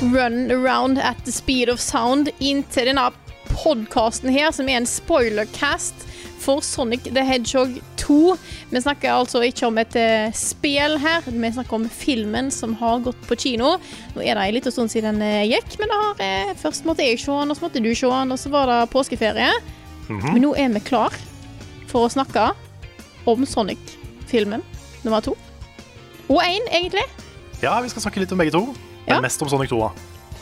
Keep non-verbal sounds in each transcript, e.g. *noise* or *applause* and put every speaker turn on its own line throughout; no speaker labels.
Run Around at the Speed of Sound inn til denne podkasten her, som er en spoilercast for Sonic the Hedgehog 2. Vi snakker altså ikke om et eh, spel her, vi snakker om filmen som har gått på kino. Nå er det en liten stund siden den eh, gikk, men det har, eh, først måtte jeg se den, og så måtte du se den, og så var det påskeferie. Men nå er vi klar for å snakke om Sonic-filmen nummer to. Og én, egentlig.
Ja, vi skal snakke litt om begge to. Men
Ja.
mest om Sonic 2. da.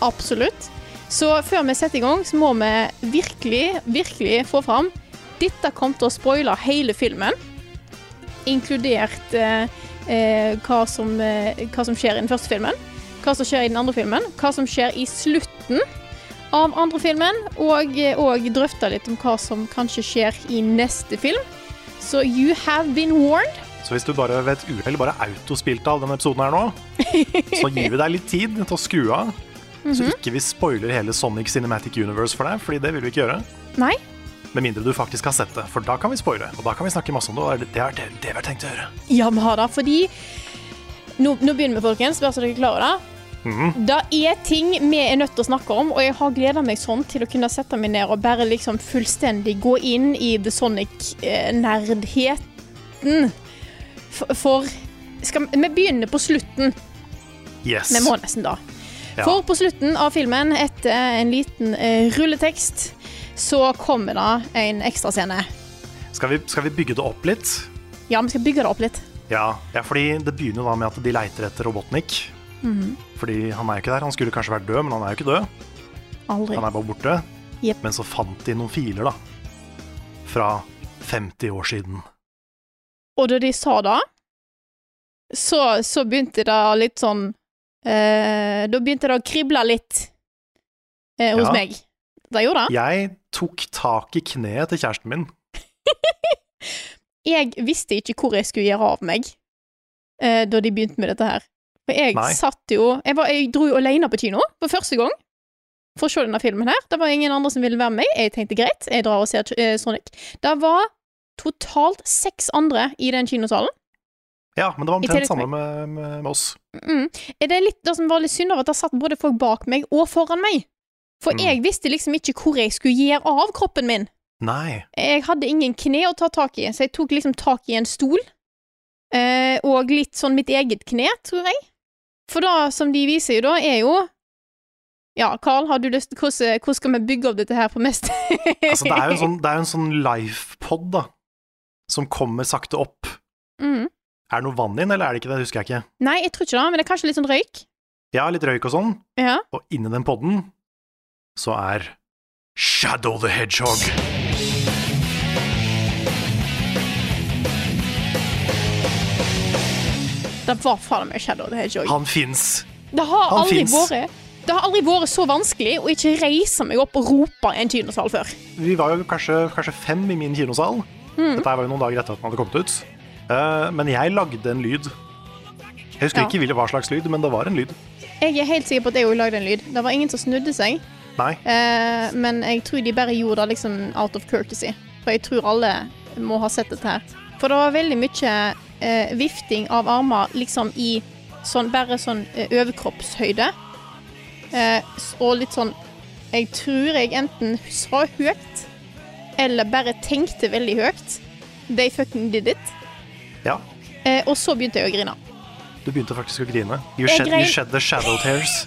Absolutt. Så før vi setter i gang, så må vi virkelig, virkelig få fram Dette kom til å spoile hele filmen, inkludert eh, eh, hva, som, eh, hva som skjer i den første filmen, hva som skjer i den andre filmen, hva som skjer i slutten av andre filmen, og, eh, og drøfte litt om hva som kanskje skjer i neste film. Så you have been warned.
Så hvis du bare ved et uhell bare autospilte av denne episoden her nå, så gir vi deg litt tid til å skru av. Så ikke vi spoiler hele Sonic Cinematic Universe for deg, fordi det vil vi ikke gjøre.
Nei?
Med mindre du faktisk har sett det, for da kan vi spoile. Og da kan vi snakke masse om det, og det er det, det vi har tenkt å gjøre.
Ja, vi har det, fordi nå, nå begynner vi, folkens. Bare så dere klarer det. Det er ting vi er nødt til å snakke om, og jeg har gleda meg sånn til å kunne sette meg ned og bare liksom fullstendig gå inn i The eh, Sonic-nerdheten. For, for skal, vi- Vi begynner på slutten.
Yes.
Vi må nesten da.
Ja.
For på slutten av filmen, etter en liten eh, rulletekst, så kommer det en ekstrascene.
Skal, vi, skal vi bygge det opp litt?
Ja, vi skal bygge det opp litt.
Ja, ja, fordi det begynner jo da med at de leiter etter Robotnik. Fordi han er jo ikke der. Han skulle kanskje vært død, men han er jo ikke død.
Aldri.
Han er bare borte.
Jep.
Men så fant de noen filer, da. Fra 50 år siden.
Og da de sa det, så, så begynte det litt sånn eh, Da begynte det å krible litt eh, hos
Ja.
meg. Det gjorde det.
Jeg tok tak i kneet til kjæresten min.
Jeg visste ikke hvor jeg skulle gjøre av meg eh, da de begynte med dette her. For jeg
Nei.
satt jo jeg, var, jeg dro jo alene på kino for første gang for å se denne filmen her. Det var ingen andre som ville være med meg. Jeg tenkte greit, jeg drar og ser eh, Sonic. Det var totalt seks andre i den kinosalen.
Ja, men det var
I
omtrent
tillegg til
samme med, med, med oss.
Mm. Det er litt det som var litt synd av at det satt både folk bak meg og foran meg. For
Mm.
jeg visste liksom ikke hvor jeg skulle gjøre av kroppen min.
Nei.
Jeg hadde ingen kne å ta tak i, så jeg tok liksom tak i en stol. Eh, og litt sånn mitt eget kne, tror jeg. For det som de viser jo da, er jo Ja, Carl, har du lyst hvordan, hvordan skal vi bygge opp dette her på mest
Altså, det er jo en sånn, det er jo en sånn lifepod, da. Som kommer sakte opp.
*laughs* mm.
Er det noe vann inn, eller er det ikke det? Husker jeg ikke.
Nei, jeg tror ikke det, men det er kanskje litt sånn røyk.
Ja, litt røyk og sånn.
Ja.
Og inni den podden så er Shadow the Hedgehog.
Det var fader meg Shadow the Hedgehog.
Han fins.
Det har
Han
aldri
finnes.
vært Det har aldri vært så vanskelig å ikke reise meg opp og rope i en kinosal før.
Vi var jo kanskje, kanskje fem i min kinosal.
Mm.
Dette her var jo noen dager etter at den hadde kommet ut. Eh, men jeg lagde en lyd. Jeg husker
Ja.
ikke hvilken- hva slags lyd, men det var en lyd.
Jeg er helt sikker på at jeg også lagde en lyd. Det var ingen som snudde seg,
Nei.
eh, men jeg tror de bare gjorde det liksom out of courtesy. For jeg tror alle må ha sett dette her. For det var veldig mye eh, vifting av armer liksom i sånn bare sånn eh, overkroppshøyde. Eh, s- og litt sånn Jeg tror jeg enten sa høyt eller bare tenkte veldig høyt. They fucking did it.
Ja,
Eh, og så begynte jeg å grine.
du begynte faktisk å grine. You
Jeg
shed, you
grein.
shed the shadow tears.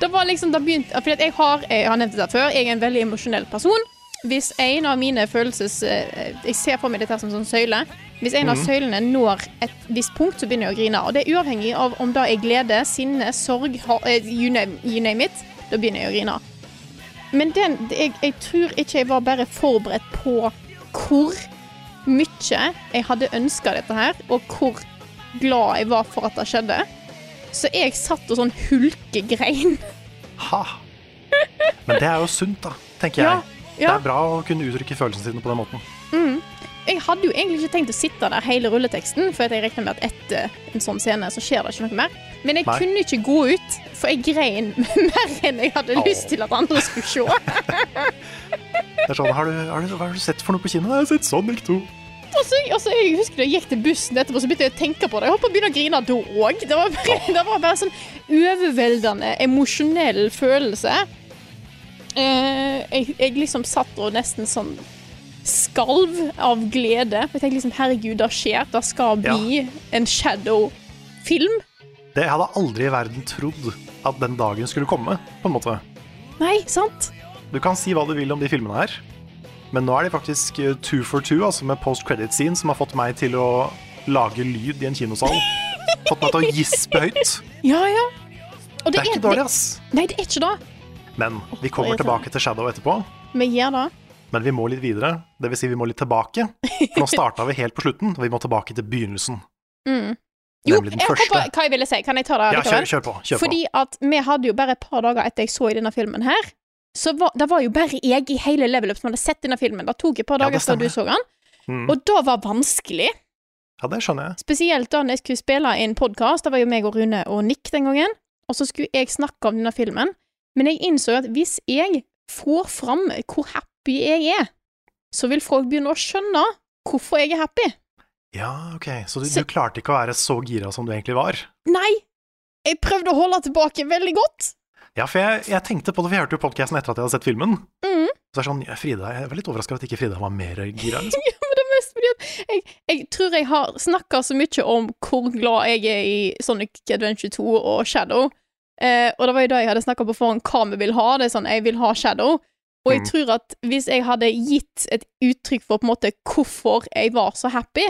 Det var liksom, det begynte, fordi at jeg har, jeg har nevnt det før, jeg er en veldig emosjonell person. Hvis en av mine følelses... eh, Jeg ser for meg dette her som en sånn søyle. Hvis en av søylene når et visst punkt, så begynner jeg å grine. Og det er uavhengig av om det er glede, sinne, sorg, ha- eh, you name, you name it. Da begynner jeg å grine. Men den, jeg, jeg tror ikke jeg var bare forberedt på hvor mye jeg hadde ønska dette her, og hvor glad jeg var for at det skjedde. Så jeg satt og sånn hulkegrein.
Ha. Men det er jo sunt, da, tenker
Ja,
jeg. Det
ja.
er bra å kunne uttrykke følelsene sine på den måten.
Jeg hadde jo egentlig ikke tenkt å sitte der hele rulleteksten, for at jeg regner med at etter en sånn scene så skjer det ikke noe mer. Men jeg
Nei.
kunne ikke gå ut, for jeg grein *laughs* mer enn jeg hadde lyst til at andre skulle se.
Det er sånn, har du, har du, Hva har du sett for noe på kino? Jeg har sett Sonic 2.
Og så, og så Altså, jeg husker da jeg gikk til bussen etterpå, så begynte jeg å tenke på det. Jeg holdt på å begynne å grine da òg. Det, var bare- *laughs* det var bare sånn overveldende emosjonell følelse. Eh, jeg, jeg liksom satt og nesten sånn skalv av glede. Jeg tenkte liksom herregud, det skjer. Det skal bli en shadow-film.
Det jeg hadde aldri i verden trodd at den dagen skulle komme. på en måte.
Nei, sant?
Du kan si hva du vil om de filmene her, men nå er de faktisk eh, two for two, altså med post credit scene, som har fått meg til å lage lyd i en kinosal. Fått meg til å gispe høyt.
*laughs* Ja, ja. Og
Det er ikke dårlig, altså.
det-
ass.
Nei, det er ikke det.
Men vi kommer tilbake til Shadow etterpå.
Vi gjør det.
Men vi må litt videre. Det vil si, vi må litt tilbake. For nå starta vi helt på slutten, og vi må tilbake til begynnelsen.
Mm. Jo,
Nemlig den
jeg kom på
første.
hva jeg ville si. Kan jeg ta det?
Ja,
likevel?
kjør, kjør på. Kjør
Fordi at vi hadde jo bare et par dager etter jeg så i denne filmen her, så var, det var jo bare jeg i hele level up som hadde sett denne filmen. Det tok et par
Ja,
dager
det
før du
stemmer.
så den,
på. Mm.
og det var vanskelig.
Ja, det skjønner jeg.
Spesielt da jeg skulle spille inn podkast, det var jo meg og Rune og Nick den gangen, og så skulle jeg snakke om denne filmen, men jeg innså at hvis jeg får fram hvor happy jeg er, så vil folk begynne å skjønne hvorfor jeg er happy.
Ja, ok. Så du,
Så-
du klarte ikke å være så gira som du egentlig var?
Nei! Jeg prøvde å holde tilbake veldig godt.
Ja, for jeg, jeg tenkte på det, for jeg hørte jo podkasten etter at jeg hadde sett filmen.
Mhm.
Så er det sånn, ja, Frida, Jeg var litt overraska over at ikke Frida var mer gira. Liksom.
Men det er mest *laughs* fordi at jeg, jeg tror jeg har snakka så mye om hvor glad jeg er i Sonic Adventure 2 og Shadow. Eh, og det var jo det jeg hadde snakka på forhånd hva vi vil ha. Det er sånn, jeg vil ha Shadow. Og jeg
Mm.
tror at hvis jeg hadde gitt et uttrykk for på en måte hvorfor jeg var så happy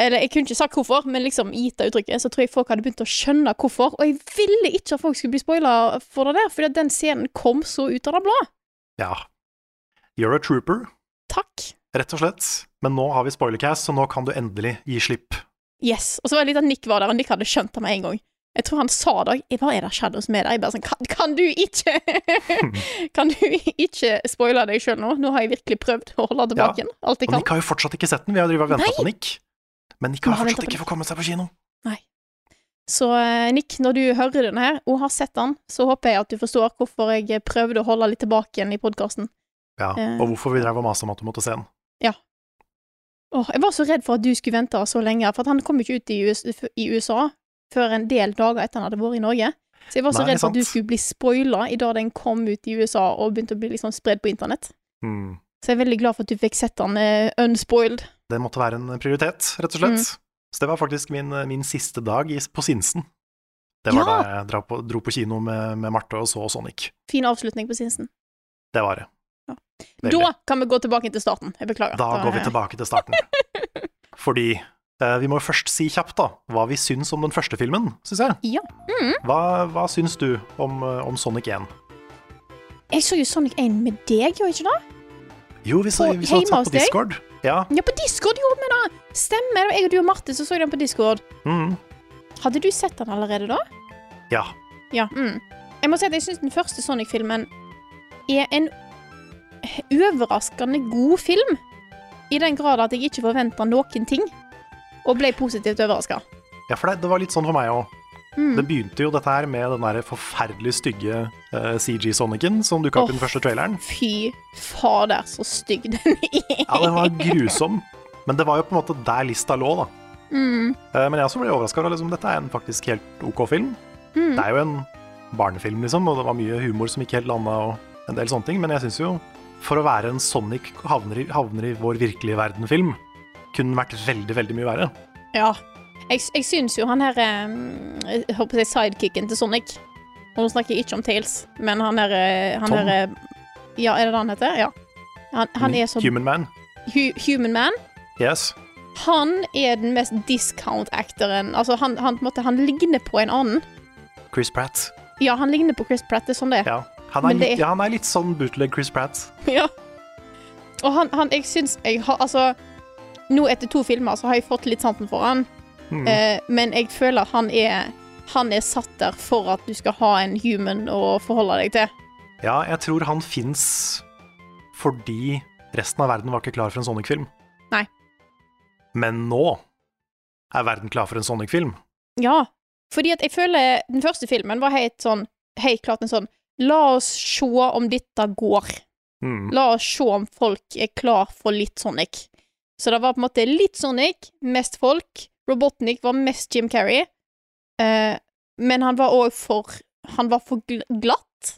Eller jeg kunne ikke sagt hvorfor, men liksom gitt det uttrykket, så tror jeg folk hadde begynt å skjønne hvorfor. Og jeg ville ikke at folk skulle bli spoila for det der, fordi at den scenen kom så ut av det blå.
Ja. You're a trooper,
Takk.
rett og slett. Men nå har vi spoilercast, så nå kan du endelig gi slipp.
Yes. Og så var det litt at Nick var der, og Nick hadde skjønt det med en gang. Jeg tror han sa det òg. Hva er det Shadows med deg? Jeg bare sånn Kan, kan du
*laughs*
ikke Kan du ikke spoile deg sjøl nå? Nå har jeg virkelig prøvd å holde tilbake ja. alt jeg
Og
kan.
Nick har jo fortsatt ikke sett den. Vi har drevet og venta
Nei.
på Nick. Men Nick
Vi
har
har
fortsatt
ventet på
ikke fått komme seg på kino.
Så eh, Nick, når du hører denne her, og har sett den, så håper jeg at du forstår hvorfor jeg eh, prøvde å holde litt tilbake igjen i podkasten.
Ja,
Eh.
Og hvorfor vi drev og masa om at du måtte se den.
Åh, jeg var så redd for at du skulle vente så lenge, for at han kom jo ikke ut i US i USA før en del dager etter han hadde vært i Norge. Så jeg var så
Nei,
redd for at du
sant.
skulle bli spoila i dag den kom ut i USA og begynte å bli liksom spredd på internett.
Mm.
Så jeg er veldig glad for at du fikk sett den eh, unspoiled.
Det måtte være en prioritet, rett og slett. Så det var faktisk min, min siste dag i, på Sinsen. Det var
Ja!
da jeg dra på, dro på kino med, med Marte og så Sonic.
Fin avslutning på Sinsen.
Det var det.
Ja.
Veldig.
Da kan vi gå tilbake til starten. Jeg beklager. Eh,
Da
Det var-
går vi tilbake til
*laughs*
starten. Fordi eh, vi må jo først si kjapt da, hva vi syns om den første filmen, syns jeg.
Ja. Mm.
Hva, hva syns du om, eh, om Sonic 1?
Jeg så jo Sonic 1 med deg, gjorde jeg ikke det?
Jo, vi så,
På-
vi så
hjemme
den
hos
på
deg?
Discord. Ja.
Ja, på Discord gjorde vi det! Stemmer. det var Jeg og du og Marte som så den på Discord.
Mm,
Hadde du sett den allerede da?
ja.
Ja. Mm. Jeg må si at jeg syns den første Sonic-filmen er en overraskende god film. I den grad at jeg ikke forventa noen ting, og ble positivt overraska.
ja, for det, det var litt sånn for meg òg.
Mm.
Det begynte jo dette her med den der forferdelig stygge eh, CG-Sonicen som dukka opp i den
Åh.
første traileren.
Fy fader, så stygg den er.
Ja, den var grusom. Men det var jo på en måte der lista lå, da.
Mm.
Eh, Men jeg også ble overraska over at liksom, dette er en faktisk helt OK film.
Mm.
Det er jo en barnefilm, liksom, og det var mye humor som ikke helt landa, og en del sånne ting. Men jeg syns jo, for å være en Sonic havner i, havner i vår virkelige verden-film, kunne den vært veldig, veldig mye verre.
Ja. Jeg, jeg syns jo han her ehm, Jeg holdt på å si sidekicken til Sonic. Og nå snakker jeg ikke om Tails, men han her, eh, han
Tom?
her eh, Ja, er det det han heter? Ja. Han, han er
Nick
så
Human Man.
hu, Human Man.
Yes.
Han er den mest discount-actoren. Altså, han, han, på en måte, han ligner på en annen.
Chris Pratt.
Ja, han ligner på Chris Pratt. Det er sånn det er.
Ja. Han er,
Men det
litt,
er-
ja, han er litt sånn bootleg Chris Pratt.
*laughs* Ja. Og han, han jeg syns jeg har Altså, nå etter to filmer så har jeg fått litt sansen for han, eh, men jeg føler at han er han er satt der for at du skal ha en human å forholde deg til.
Ja, jeg tror han fins fordi resten av verden var ikke klar for en Sonic-film.
Nei.
Men nå er verden klar for en Sonic-film.
Ja, fordi at jeg føler den første filmen var helt sånn Helt klart en sånn La oss se om dette går.
Mm.
La oss se om folk er klar for litt Sonic. Så det var på en måte litt Sonic, mest folk. Robotnik var mest Jim Carrey. Eh, men han var òg for Han var for gl glatt.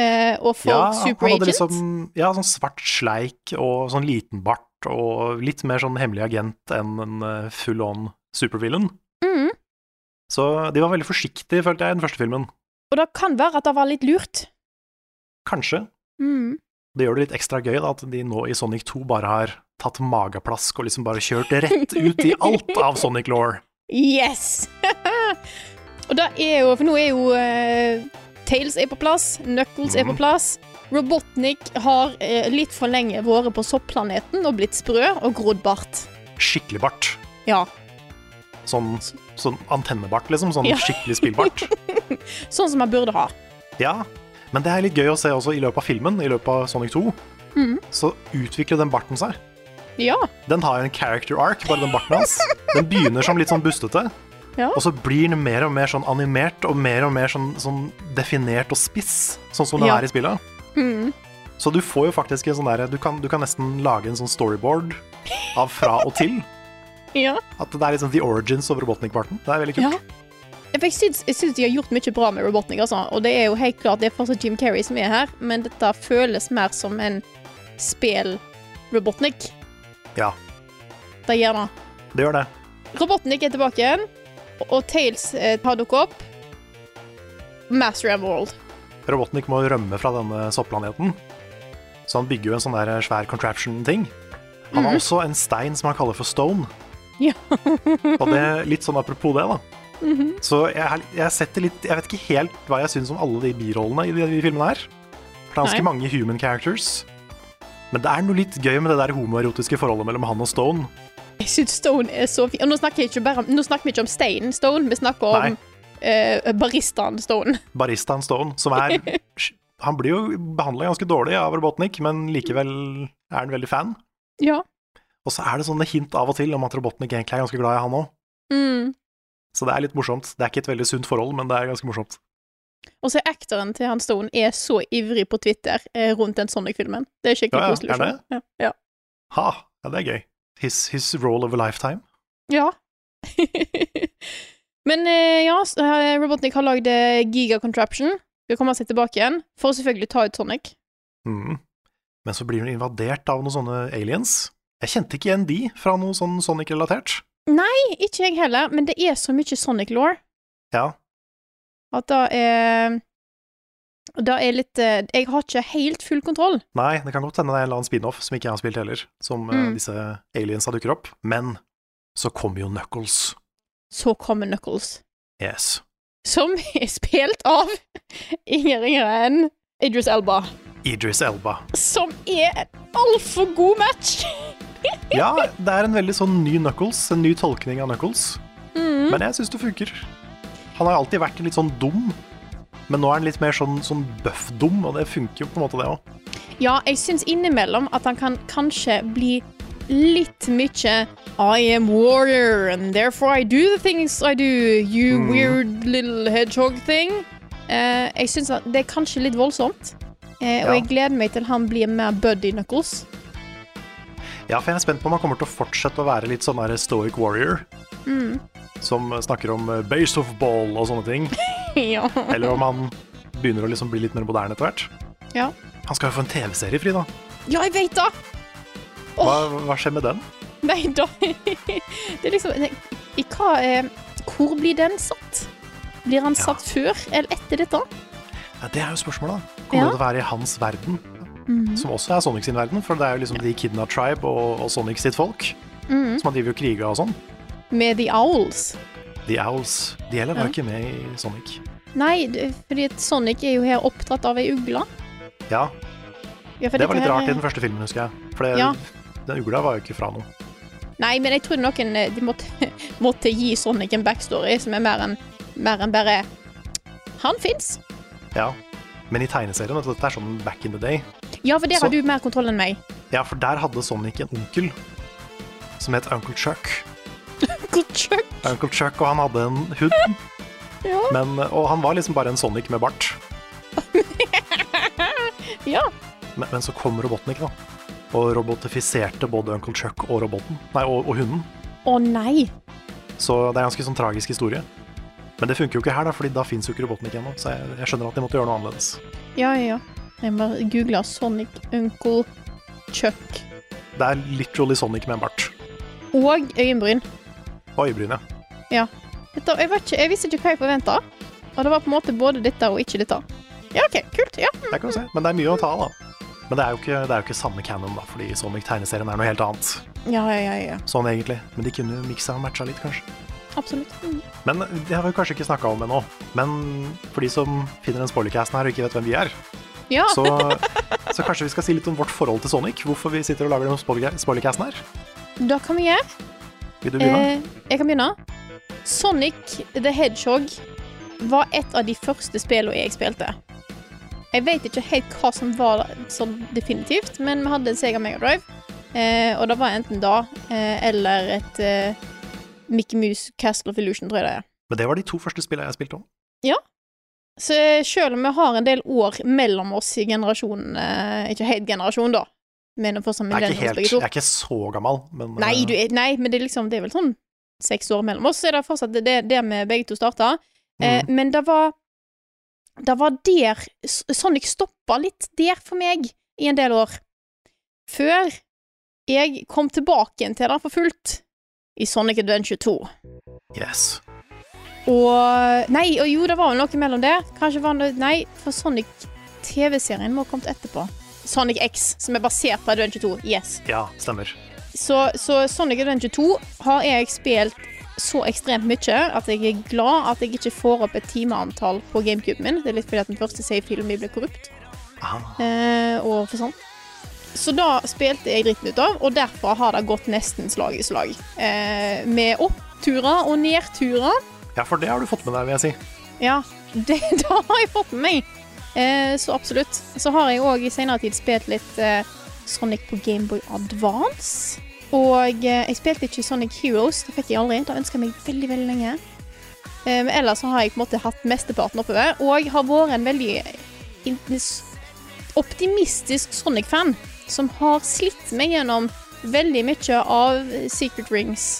Eh, og for
Ja, han
super
hadde
agent.
liksom ja, sånn svart sleik og sånn liten bart og litt mer sånn hemmelig agent enn en eh, full on supervillain.
Mm.
Så de var veldig forsiktige, følte jeg, i den første filmen.
Og det kan være at det var litt lurt.
Kanskje
Mm.
det gjør det litt ekstra gøy da, at de nå i Sonic 2 bare har tatt mageplask og liksom bare kjørt rett ut i alt av Sonic Law.
Yes! *laughs* og det er jo For nå er jo eh, Tails er på plass, Knuckles er på plass. Robotnik har eh, litt for lenge vært på sopplaneten og blitt sprø og grodd bart.
Skikkelig bart.
Ja.
Sånn, sånn antennebart, liksom. Sånn
Ja.
skikkelig
*laughs*
spillbart.
Sånn som han burde ha.
Ja. Men det er litt gøy å se også i løpet av filmen, i løpet av Sonic 2,
Mm.
så utvikler den barten seg.
Ja.
Den har en character arc, bare den barten hans. Den begynner som litt sånn bustete,
Ja.
og så blir den mer og mer sånn animert og mer og mer sånn, sånn definert og spiss, sånn som den
Ja. Mm.
er i spillet. Så du får jo faktisk en sånn derre du, kan- du kan nesten lage en sånn storyboard av fra og til.
ja.
At det er liksom the origins of Robotnik-barten. Det er veldig kult.
ja. For Jeg syns, jeg syns de har gjort mye bra med Robotnik, altså. Og det er jo helt klart det er fortsatt Jim Carrey som er her, men dette føles mer som en spel-Robotnik.
Ja,
Det gjør det.
det gjør det.
Robotnik er tilbake igjen, og Tails eh, har dukket opp. Master of World.
Robotnik må rømme fra denne sopplaneten, så han bygger jo en sånn der svær contraption-ting. Han har også en stein som han kaller for stone.
Mhm. Ja.
*laughs* og det er litt sånn apropos det, da.
Mhm.
Så jeg, er- jeg setter litt Jeg vet ikke helt hva jeg syns om alle de birollene i de, de filmene her. For det er ganske
Nei.
mange human characters. Men det er noe litt gøy med det der homoerotiske forholdet mellom han og Stone.
Jeg synes Stone er så fin. Og nå snakker, jeg ikke bare om, nå snakker vi ikke om Stein Stone, vi snakker
Nei.
om eh, baristaen Stone.
Baristaen Stone, som
*laughs*
er Han blir jo behandla ganske dårlig av Robotnik, men likevel er han veldig fan.
Ja.
Og så er det sånne hint av og til om at Robotnik egentlig er ganske glad i han òg.
Mm.
Så det er litt morsomt. Det er ikke et veldig sunt forhold, men det er ganske morsomt.
Og så er aktoren til han Stone er så ivrig på Twitter eh, rundt den Sonic-filmen. Det er skikkelig
Ja, ja,
koselig. å
er det?
se. Ja.
Ha! Ja, det er gøy. His, his role of a lifetime.
Ja. ja. *laughs* Men eh, ja, så, eh, Robotnik har lagd eh, Giga Contraption. Skal komme seg tilbake igjen. For å selvfølgelig ta ut Sonic.
Mm. Men så blir hun invadert av noen sånne aliens. Jeg kjente ikke igjen de fra noe sånn Sonic-relatert.
Ikke jeg heller, men det er så mye Sonic law
Ja.
at det er Det er litt eh, Jeg har ikke helt full kontroll.
Nei, det kan godt hende det er en eller annen spin-off som ikke jeg har spilt heller, som eh,
Mm.
disse aliensa dukker opp. Men så kommer jo Knuckles.
Så kommer Knuckles,
Yes.
som er spilt av *laughs* ingen ringere enn Idris Elba,
Idris Elba.
som er en altfor god match.
Ja, det er en veldig sånn ny Knuckles, en ny tolkning av Knuckles. Men jeg syns det funker. Han har alltid vært litt sånn dum, men nå er han litt mer sånn, sånn bøff-dum, og det funker jo på en måte, det òg.
Ja, jeg syns innimellom at han kan kanskje bli litt mye I am warrior, and therefore I do the things I do, you weird little hedgehog thing. Eh, jeg syns at det er kanskje litt voldsomt. Eh, Og
Ja.
jeg gleder meg til han blir mer Buddy Knuckles.
Ja, for jeg er spent på om han kommer til å fortsette å være litt sånn der stoic warrior. Som snakker om eh, base of ball og sånne ting.
ja.
Eller om han begynner å liksom bli litt mer moderne etter hvert.
ja.
Han skal jo få en TV-serie, Frida.
Ja, jeg veit det!
Hva, hva skjer med den?
Nei *laughs* da. det er liksom nei, I hva eh, Hvor blir den satt? Blir han satt før eller etter dette?
Ja, det er jo spørsmålet. da.
Ja. Mhm.
Kommer det til å være i hans verden? Som også er Sonic sin verden, for det er jo liksom de Kidna Tribe og, og Sonic sitt folk.
Mhm.
Som han driver og kriger og sånn.
Med The Owls.
The Owls. De heller var ikke med i Sonic.
Nei, det- fordi at Sonic er jo her oppdratt av ei ugle.
Ja,
Ja, for
det
dette
var litt
her
rart i
er-
den første filmen, husker jeg. For det,
Ja.
den ugla var jo ikke fra noe.
Nei, men jeg tror noen eh, de måtte, *laughs* måtte gi Sonic en backstory som er mer enn mer enn bare Han fins!
Ja. Men i tegneserien, at dette er sånn back in the day
Ja, for der har
Så-
du mer kontroll enn
*laughs*
meg.
Ja, for der hadde Sonic en onkel som het Uncle Chuck.
Good job.
Uncle Chuck, og han hadde en hund,
Ja.
men, og han var liksom bare en Sonic med bart.
ja.
Men, men så kom Robotnik, da. Og robotifiserte både Uncle Chuck og roboten. Nei, og, og hunden.
Å nei.
Så det er en ganske sånn tragisk historie. Men det funker jo ikke her, da, fordi da fins jo ikke Robotnik ennå. Så jeg, jeg skjønner at de måtte gjøre noe annerledes.
Ja, ja, ja. Jeg må google Sonic Uncle Chuck.
Det er literally Sonic med en bart.
Og øyenbryn.
Og øyebryn, ja.
Ja. Dette, jeg, vet ikke, jeg visste ikke hva jeg forventa. Og det var på en måte både dette og ikke dette. Ja, OK. Kult. Ja.
Det kan du se. Men det er mye å ta av, da. Men det er jo ikke, det er jo ikke samme canon, da, fordi Sonic-tegneserien er noe helt annet.
Ja, ja, ja. ja.
Sånn egentlig. Men de kunne miksa og matcha litt, kanskje.
Absolutt. Mm.
Men det har vi kanskje ikke snakka om ennå. Men for de som finner den spoilercasten her og ikke vet hvem vi er,
Ja.
så, så kanskje vi skal si litt om vårt forhold til Sonic. Hvorfor vi sitter og lager den spoiler- spoilercasten her.
Da kan vi gjøre
Vil du begynne?
eh, Jeg kan begynne. Sonic the Hedgehog var et av de første spillene jeg spilte. Jeg vet ikke helt hva som var sånn definitivt, men vi hadde en Sega Mega Drive. Eh, og det var enten da eh, eller et eh, Mickey Mouse Castle of Illusion, tror jeg det er.
Men det var de to første spillene jeg spilte om.
Så selv om vi har en del år mellom oss i generasjonen eh, Ikke helt generasjon, da. Men for
Jeg er ikke, helt, jeg er ikke så gammel, men eh,
Nei, du, er- nei, men det er liksom Det er vel sånn seks år mellom oss, så er det fortsatt det, det, det vi begge to starta. Eh, men det var Det var der S- Sonic stoppa litt der for meg i en del år. Før jeg kom tilbake igjen til det for fullt i Sonic Adventure 2.
Yes.
Og Nei, og jo, det var vel noe mellom der. Kanskje var det Nei, for Sonic-TV-serien må ha kommet etterpå. Sonic X, som er basert på Adventure 2. Yes.
Ja, stemmer.
Så, så Sonic Adventure 2 har jeg spilt så ekstremt mye at jeg er glad at jeg ikke får opp et timeantall på GameCuben min. Det er litt fordi at den første save-filmen min ble korrupt
Ah,
eh, og forsvant. Så da spilte jeg dritten ut av, og derfra har det gått nesten slag i slag. Eh, med oppturer og nedturer.
ja, for det har du fått med deg, vil jeg si.
Ja, *laughs* det, det har jeg fått med meg. Eh, så absolutt. Så har jeg òg i senere tid spilt litt eh, Sonic på Gameboy Advance. Og eh, jeg spilte ikke Sonic Heroes, det fikk jeg aldri. Det ønska jeg meg veldig veldig lenge. Eh, men ellers så har jeg på en måte hatt mesteparten oppover, og har vært en veldig in- optimistisk Sonic-fan som har slitt meg gjennom veldig mye av Secret Rings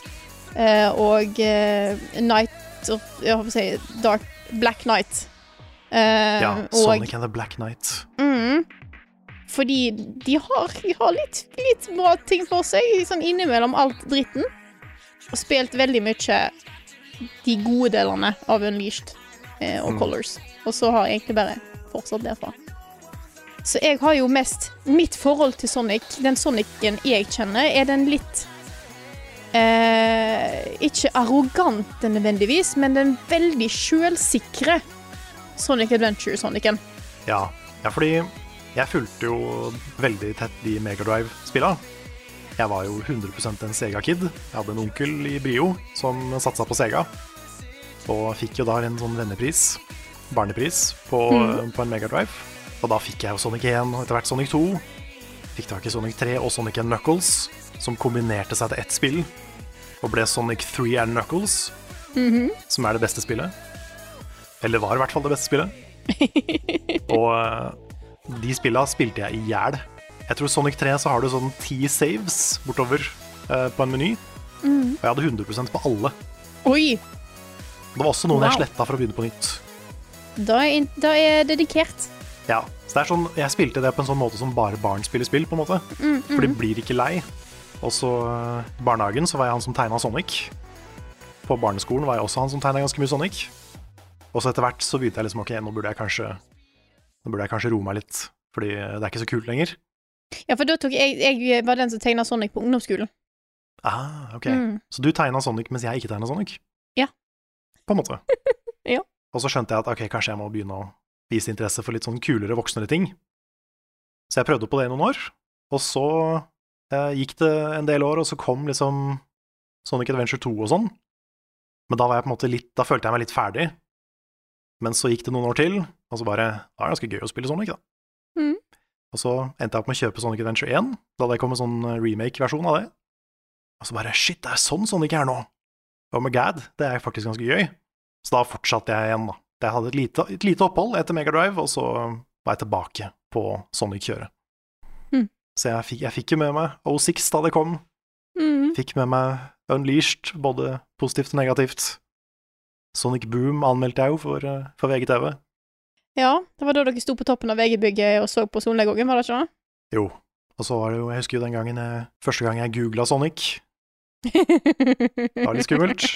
eh, og eh, Night of, Jeg håper å si Dark Black Night. Eh,
Ja,
og-
Sonic and the Black Knight.
Mm. Fordi de har, de har litt, litt bra ting for seg, sånn innimellom alt dritten. Og spilt veldig mye de gode delene av Unleashed eh, og Colors. Og så har jeg egentlig bare fortsatt derfra. Så jeg har jo mest Mitt forhold til Sonic, den Sonicen jeg kjenner, er den litt eh, Ikke arrogante nødvendigvis, men den veldig sjølsikre Sonic Adventure-Sonicen.
Ja. ja, fordi jeg fulgte jo veldig tett de Megadrive-spilla. Jeg var jo 100 en Sega-kid. Jeg hadde en onkel i Brio som satsa på Sega. Og fikk jo da en sånn vennepris, barnepris, på, på en Megadrive. Og da fikk jeg jo Sonic 1 og etter hvert Sonic 2. Fikk tak i Sonic 3 og Sonic and Knuckles, som kombinerte seg til ett spill. Og ble Sonic 3 and Knuckles, som er det beste spillet. Eller var i hvert fall det beste spillet. Og eh, de spilla spilte jeg i hjel. Jeg tror Sonic 3 så har du sånn ti saves bortover eh, på en meny.
Mm.
Og jeg hadde 100 på alle.
Oi!
Det var også noen jeg
Wow.
sletta for å begynne på nytt.
Da er, da er jeg dedikert.
Ja, så det er sånn, Jeg spilte det på en sånn måte som bare barn spiller spill, på en måte.
Mm,
For de blir ikke lei. Og så eh, i barnehagen så var jeg han som tegna Sonic. På barneskolen var jeg også han som tegna ganske mye Sonic. Og så etter hvert så begynte jeg liksom ok, nå burde jeg kanskje Nå burde jeg kanskje roe meg litt, fordi det er ikke så kult lenger.
Ja, for da tok jeg, jeg var den som tegna Sonic på ungdomsskolen.
Ah, ok.
Mm.
Så du tegna Sonic mens jeg ikke tegna Sonic?
Ja.
På en måte.
*laughs* Ja.
Og så skjønte jeg at ok, kanskje jeg må begynne å vise interesse for litt sånn kulere, voksnere ting. Så jeg prøvde på det i noen år, og så eh, gikk det en del år, og så kom liksom Sonic Adventure 2 og sånn. Men da var jeg på en måte litt, da følte jeg meg litt ferdig. Men så gikk det noen år til, og så bare Da er det ganske gøy å spille Sonic, da.
Mhm.
Og så endte jeg opp med å kjøpe Sonic Adventure 1. Da hadde jeg kommet en sånn remake-versjon av det. Og så bare Shit, det er sånn Sonic er nå! Oh my god, det er faktisk ganske gøy. Så da fortsatte jeg igjen, da. Jeg hadde et lite, et lite opphold etter Megadrive, og så var jeg tilbake på Sonic-kjøret.
Mhm.
Så jeg fikk, jeg fikk jo med meg O6 da det kom,
Mm.
fikk med meg Unleashed, både positivt og negativt. Sonic Boom anmeldte jeg jo for, eh, for VGTV.
Ja, det var da dere sto på toppen av VG-bygget og så på solnedgangen, var det ikke
Jo. Og så var det jo, jeg husker jo den gangen jeg, første gang jeg googla Sonic.
det?
Det var litt skummelt.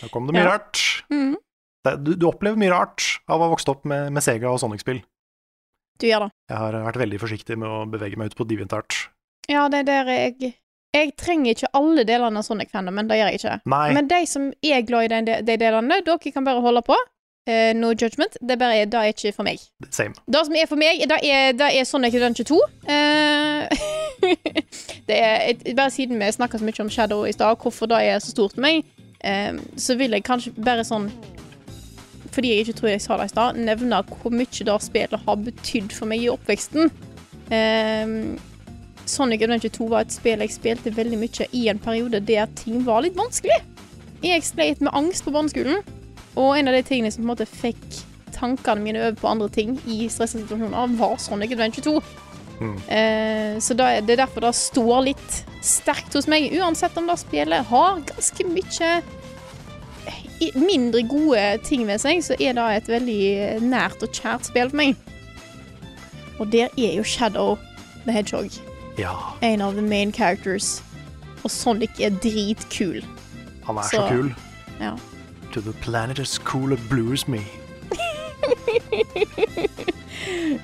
Da kom det mye
Ja.
rart.
Mm.
Det, du, du opplever mye rart av å ha vokst opp med, med Sega og Sonic-spill.
Du gjør det.
Jeg har vært veldig forsiktig med å bevege meg ut på DeviantArt.
Ja, det er der jeg Jeg trenger ikke alle delene av Sonic-fandomen, det gjør jeg ikke.
Nei,
Men de som er glad i den de, de delene, dere kan bare holde på. Eh, no judgment. Det er bare det er ikke for meg.
same.
Det som er for meg, det er, det er Sonic Adventure 2. Eh, *laughs* det er, et- bare siden vi snakka så mye om Shadow i stad, hvorfor det er så stort for meg, eh, så vil jeg kanskje bare sånn Fordi jeg ikke tror jeg sa det i stad, nevne hvor mye det spillet har betydd for meg i oppveksten. Eh, Sonic Adventure 2 var et spill jeg spilte veldig mye i en periode der ting var litt vanskelig. Jeg sleit med angst på barneskolen, og en av de tingene som på en måte fikk tankene mine over på andre ting i stressa situasjoner, var Sonic Adventure 2.
Mm.
Eh, så da, er- det er derfor det står litt sterkt hos meg, uansett om det spillet har ganske mye eh, i- mindre gode ting ved seg, så er det et veldig nært og kjært spill for meg. Og der er jo Shadow the Hedgehog
Ja,
en av the main characters. Og Sonic er dritkul.
han er så,
Så-
kul.
Ja.
To the planet as cool as blue as me.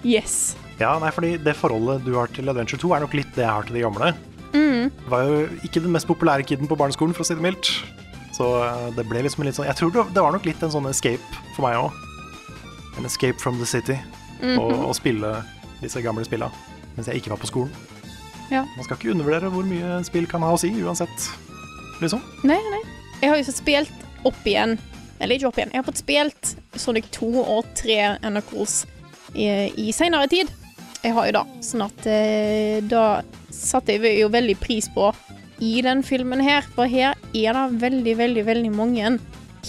Yes.
Ja, nei, fordi det forholdet du har til Adventure 2, er nok litt det jeg har til de gamle.
Mm.
Jeg var jo ikke den mest populære kiden på barneskolen, for å si det mildt. Så eh, det ble liksom en litt sånn Jeg tror det det var nok litt en sånn escape for meg òg. En escape from the city.
Mhm.
og, og spille disse gamle spilla mens jeg ikke var på skolen.
Ja.
Man skal ikke undervurdere hvor mye spill kan ha å si, uansett. Liksom.
Nei, nei. Jeg har jo så spilt opp igjen Eller ikke opp igjen. Jeg har fått spilt Sonic 2 og 3 NRKs i, i seinere tid. Jeg har jo det. Sånn at eh, da satte jeg jo veldig pris på i den filmen her, for her er det veldig, veldig, veldig mange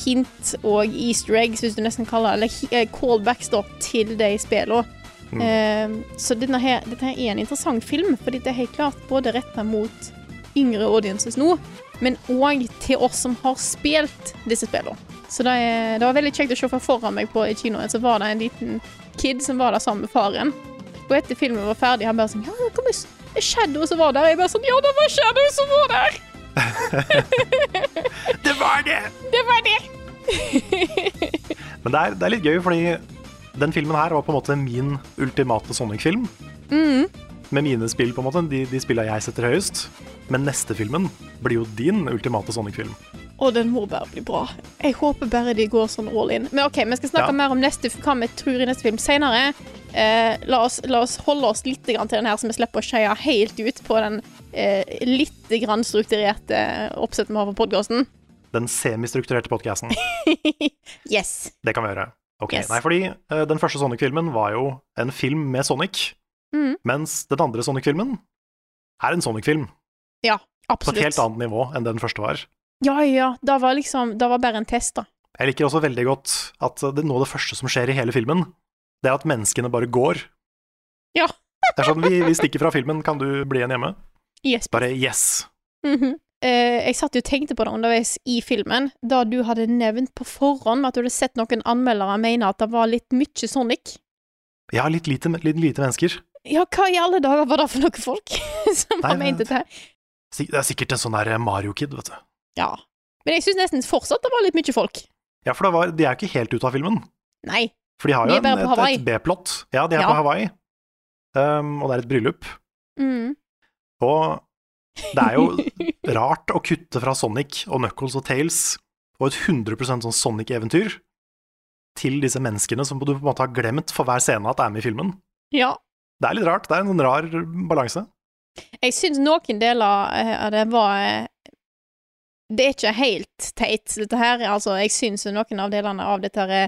hint og easter eggs, hvis du nesten kaller det, eller hi- eh, callbacks da, til de spillene. Eh, så denne her, dette her er en interessant film, fordi det er helt klart både retta mot yngre audiences nå, men òg til oss som har spilt disse spillene. Så det, er, det var veldig kjekt å se for foran meg på i kinoen, så var det en liten kid som var der sammen med faren. Og etter filmen var ferdig, han bare sånn Ja, hvor mye s- Shadow som var der? Jeg bare sånn Ja, det var Shadow som var der!
Det var det!
Det var det!
Men det er, det er litt gøy, fordi den filmen her var på en måte min ultimate Sonic-film.
Mm.
Med mine spill, på en måte. De, de spilla jeg setter høyest. Men neste filmen blir jo din ultimate Sonic-film.
Og den må bare bli bra. Jeg håper bare de går sånn all in. Men OK, vi skal snakke
Ja.
mer om neste, hva vi tror i neste film senere. Eh, la, oss, la oss holde oss litt grann til den her, så vi slipper å skeie helt ut på den eh, litt grann strukturerte oppsettet vi har på podkasten.
Den semistrukturerte
*laughs*
podkasten.
yes.
Det kan vi gjøre. Ok,
Yes.
Nei, fordi eh, den første Sonic-filmen var jo en film med Sonic.
Mhm.
Mens den andre Sonic-filmen er en Sonic-film.
Ja,
på et helt
absolutt.
annet nivå enn den første var.
Ja, ja. Det var liksom Det var bare en test, da.
Jeg liker også veldig godt at det, noe av det første som skjer i hele filmen, det er at menneskene bare går.
Ja.
Det er sånn, vi, vi stikker fra filmen, kan du bli igjen hjemme?
Yes.
Bare yes.
Mhm. Eh, jeg satt jo og tenkte på det underveis i filmen, da du hadde nevnt på forhånd at du hadde sett noen anmeldere mene at det var litt mye Sonic.
Ja, litt lite, litt lite mennesker.
Ja, hva i alle dager var det for noen folk *laughs* som har
Nei,
ment
men-
dette? her?
Sik- Det er sikkert en sånn der Mario-kid, vet du.
Ja. Men jeg syns nesten fortsatt det var litt mye folk.
Ja, for det var, de er jo ikke helt ute av filmen.
Nei.
For de har
De
jo
er bare
en,
på
et,
Hawaii.
et B-plott. Ja, de
Ja.
er på Hawaii. Um, og det er et bryllup.
Mm.
Og det er jo rart å kutte fra Sonic og Knuckles og Tails og et 100 sånn Sonic-eventyr til disse menneskene som du på en måte har glemt for hver scene at er med i filmen.
Ja.
Det er litt rart. Det er en sånn rar balanse.
Jeg syns noen deler eh, av det var eh, Det er ikke helt teit, dette her. Altså, jeg syns noen av delene av dette her, eh,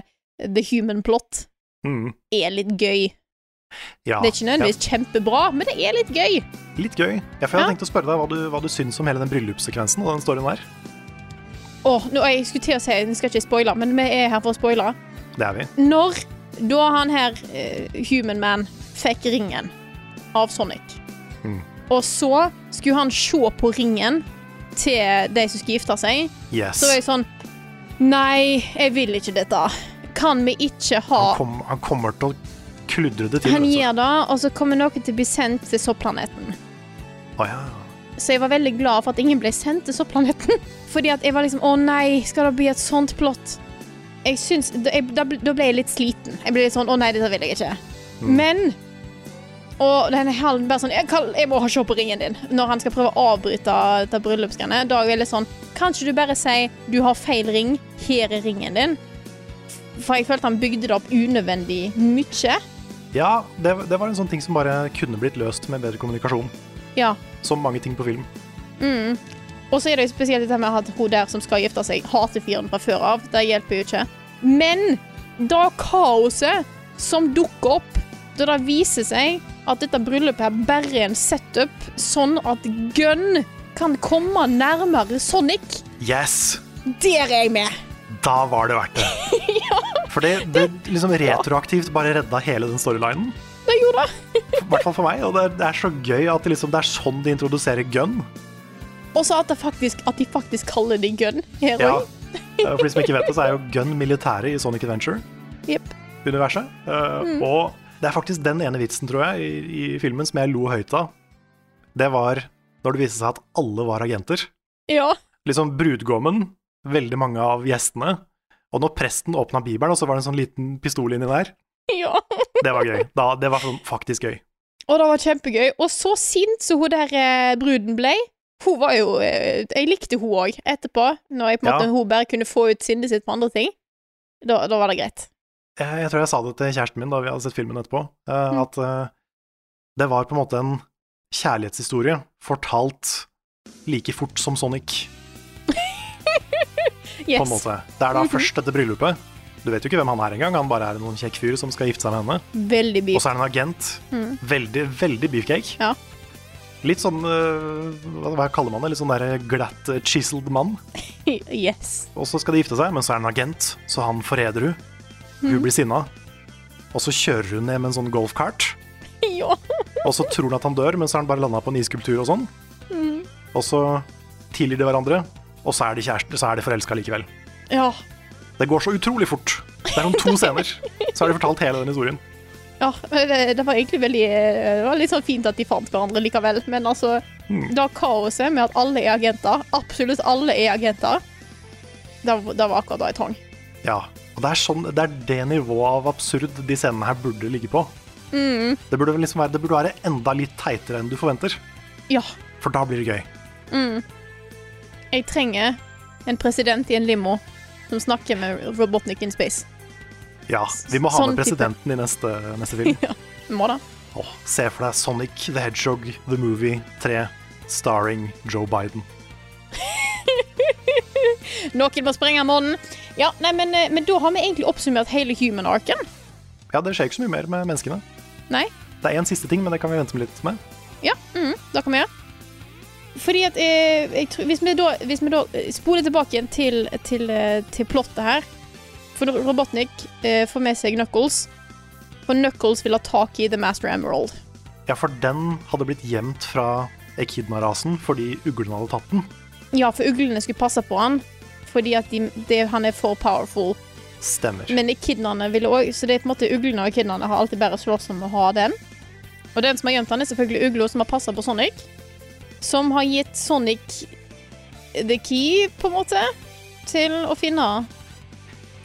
The Human Plot
Mm.
er litt gøy.
Ja,
det er ikke nødvendigvis kjempebra, men det er litt gøy.
ja, litt gøy. Ja, for jeg hadde tenkt å spørre deg hva du, hva du syns om hele den bryllupssekvensen og den storyen der.
Åh, nå, jeg skulle til å si, nå skal jeg ikke spoile, men vi er her for å spoile.
Det er vi.
Når da han her, eh, Human Man, fikk ringen av Sonic,
Mm.
og så skulle han se på ringen til de som skulle gifte seg,
Yes.
så var jeg sånn Nei, jeg vil ikke dette. Kan vi ikke ha
Han, kom, han kommer til å kludre det til. altså.
Han
vet du.
gir det, og så kommer noen til å bli sendt til sopplaneten.
Å, ja.
Så jeg var veldig glad for at ingen ble sendt til sopplaneten. *laughs* Fordi at jeg var liksom Å nei, skal det bli et sånt plott? Jeg syns Da, jeg, da, ble- da ble jeg litt sliten. Jeg ble litt sånn Å nei, dette vil jeg ikke. Men Og den halen bare sånn jeg, Karl, jeg må ha se på ringen din. Når han skal prøve å avbryte dette bryllupsgreiene. Da er jeg litt sånn Kan ikke du bare si du har feil ring, her er ringen din? For jeg følte han bygde det opp unødvendig mye.
ja det, det var en sånn ting som bare kunne blitt løst med bedre kommunikasjon.
Ja.
Som mange ting på film.
Og så er det jo spesielt dette med at hun der som skal gifte seg, hater fyren fra før av. Det hjelper jo ikke. Men da kaoset som dukker opp da det viser seg at dette bryllupet her bare er en setup, sånn at Gunn kan komme nærmere Sonic,
Yes!
der er jeg med!
Da var det verdt det. For det, det liksom retroaktivt bare redda hele den storylinen.
Det gjorde det.
I hvert fall for meg. Og det er, det er så gøy at det, liksom, det er sånn de introduserer gun.
Og så at, det faktisk, at de faktisk kaller det Gunn her
Ja.
òg.
Eh, For de som ikke vet det, så er jo gun militæret i Sonic Adventure-universet.
Jepp.
Eh, Og det er faktisk den ene vitsen, tror jeg, i, i filmen som jeg lo høyt av. Det var når det viste seg at alle var agenter.
Ja.
liksom brudgommen, veldig mange av gjestene. Og når presten åpna bibelen, og så var det en sånn liten pistol inni der.
ja.
Det var gøy. Da, det var sånn faktisk gøy.
Og det var kjempegøy. Og så sint som hun der eh, bruden ble. Hun var jo eh, Jeg likte hun òg etterpå, når jeg på en
Ja.
måte hun bare kunne få ut sinnet sitt på andre ting. Da, da var det greit.
Jeg, jeg tror jeg sa det til kjæresten min da vi hadde sett filmen etterpå, eh,
Mm.
at eh, det var på en måte en kjærlighetshistorie fortalt like fort som Sonic, på en
Yes. Mhm.
måte. Det er da først dette bryllupet. Du vet jo ikke hvem han er engang, han bare er noen kjekk fyr som skal gifte seg med henne.
Veldig
Og
beef.
så er det en agent.
Mm.
Veldig, veldig beefcake.
Ja.
Litt sånn øh, hva, hva kaller man det? Litt sånn der glatt øh, chiseled mann.
*laughs* Yes.
Og så skal de gifte seg, men så er det en agent, så han forræder hun.
Mm.
Hun blir sinna. Og så kjører hun ned med en sånn golfkart.
Ja.
Og så tror hun at han dør, men så har han bare landa på en isskulptur og sånn.
Mm.
Og så tilgir de hverandre, og så er de kjærester, så er de forelska likevel.
ja.
Det går så utrolig fort. Det er om to scener, så har de fortalt hele den historien.
Ja, det, det var egentlig veldig eh, Det var litt sånn fint at de fant hverandre likevel, men altså
Hmm.
Da kaoset med at alle er agenter, absolutt alle er agenter, det, det var akkurat da jeg trang.
Ja, og det er, sånn, det er det nivået av absurd de scenene her burde ligge på.
Mm.
Det, burde vel liksom være, det burde være enda litt teitere enn du forventer,
Ja.
for da blir det gøy.
Jeg trenger en president i en limo som snakker med Robotnik in space.
Ja, Vi må ha
Sånn type.
med presidenten i neste, neste
*laughs*
film.
Må da.
Åh, se for deg Sonic the Hedgehog The Movie 3, starring Joe Biden.
Noen må sprenge månen. Ja, nei, men, eh, men da har vi egentlig oppsummert hele human arken.
Ja, Det skjer ikke så mye mer med menneskene.
Nei?
Det er én siste ting, men det kan vi vente med litt med.
Ja, mm, det kan vi gjøre. Fordi at eh, jeg tror, hvis, vi da, hvis vi da eh, spoler tilbake igjen til, til, eh, til plottet her For når Robotnik eh, får med seg Knuckles, og Knuckles vil ha tak i The Master Emerald.
Ja, for den hadde blitt gjemt fra Echidna-rasen fordi uglene hadde tatt den.
Ja, for uglene skulle passe på han fordi at de, det, han er for powerful.
Stemmer.
Men kidnerne ville òg, så det er på en måte uglene og kidnerne har alltid bare slåss om å ha den. Og den som har gjemt den, er selvfølgelig ugla som har passa på Sonic. Som har gitt Sonic the key, på en måte, til å finne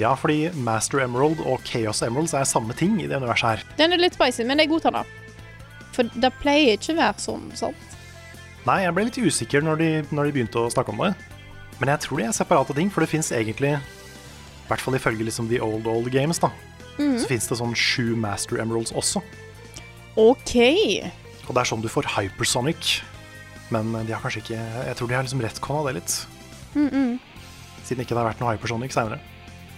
Ja, fordi Master Emerald og Chaos Emeralds er samme ting i det universet her.
Den er litt spicy, men jeg godtar det. For det pleier ikke å være sånn, sant?
Nei, jeg ble litt usikker når de, når de begynte å snakke om det. Men jeg tror de er separate ting, for det fins egentlig I hvert fall ifølge liksom The Old Old Games, da.
Mhm.
Så fins det sånn sju Master Emeralds også.
OK.
Og det er sånn du får Hypersonic. Men eh, de har kanskje ikke Jeg tror de har liksom retconna det litt. Siden ikke det har vært noe Hypersonic seinere.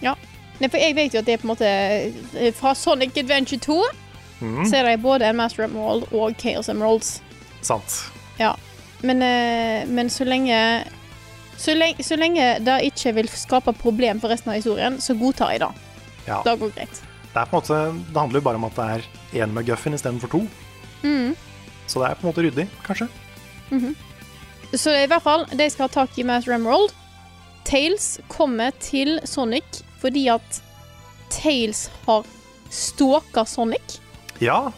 Ja. Nei, for jeg vet jo at det er på en måte eh, Fra Sonic Adventure 2 så er det både en Master Emerald og Chaos Emeralds.
Sant.
Ja. Men, eh, men så lenge så lenge, så lenge det ikke vil skape problem for resten av historien, så godtar jeg det.
Ja.
Det går greit.
Det er på en måte Det handler jo bare om at det er én McGuffin istedenfor to. Så det er på en måte ryddig, kanskje.
Så i hvert fall, de skal ha tak i Master Emerald. Tails kommer til Sonic fordi at Tails har stalka Sonic.
Ja,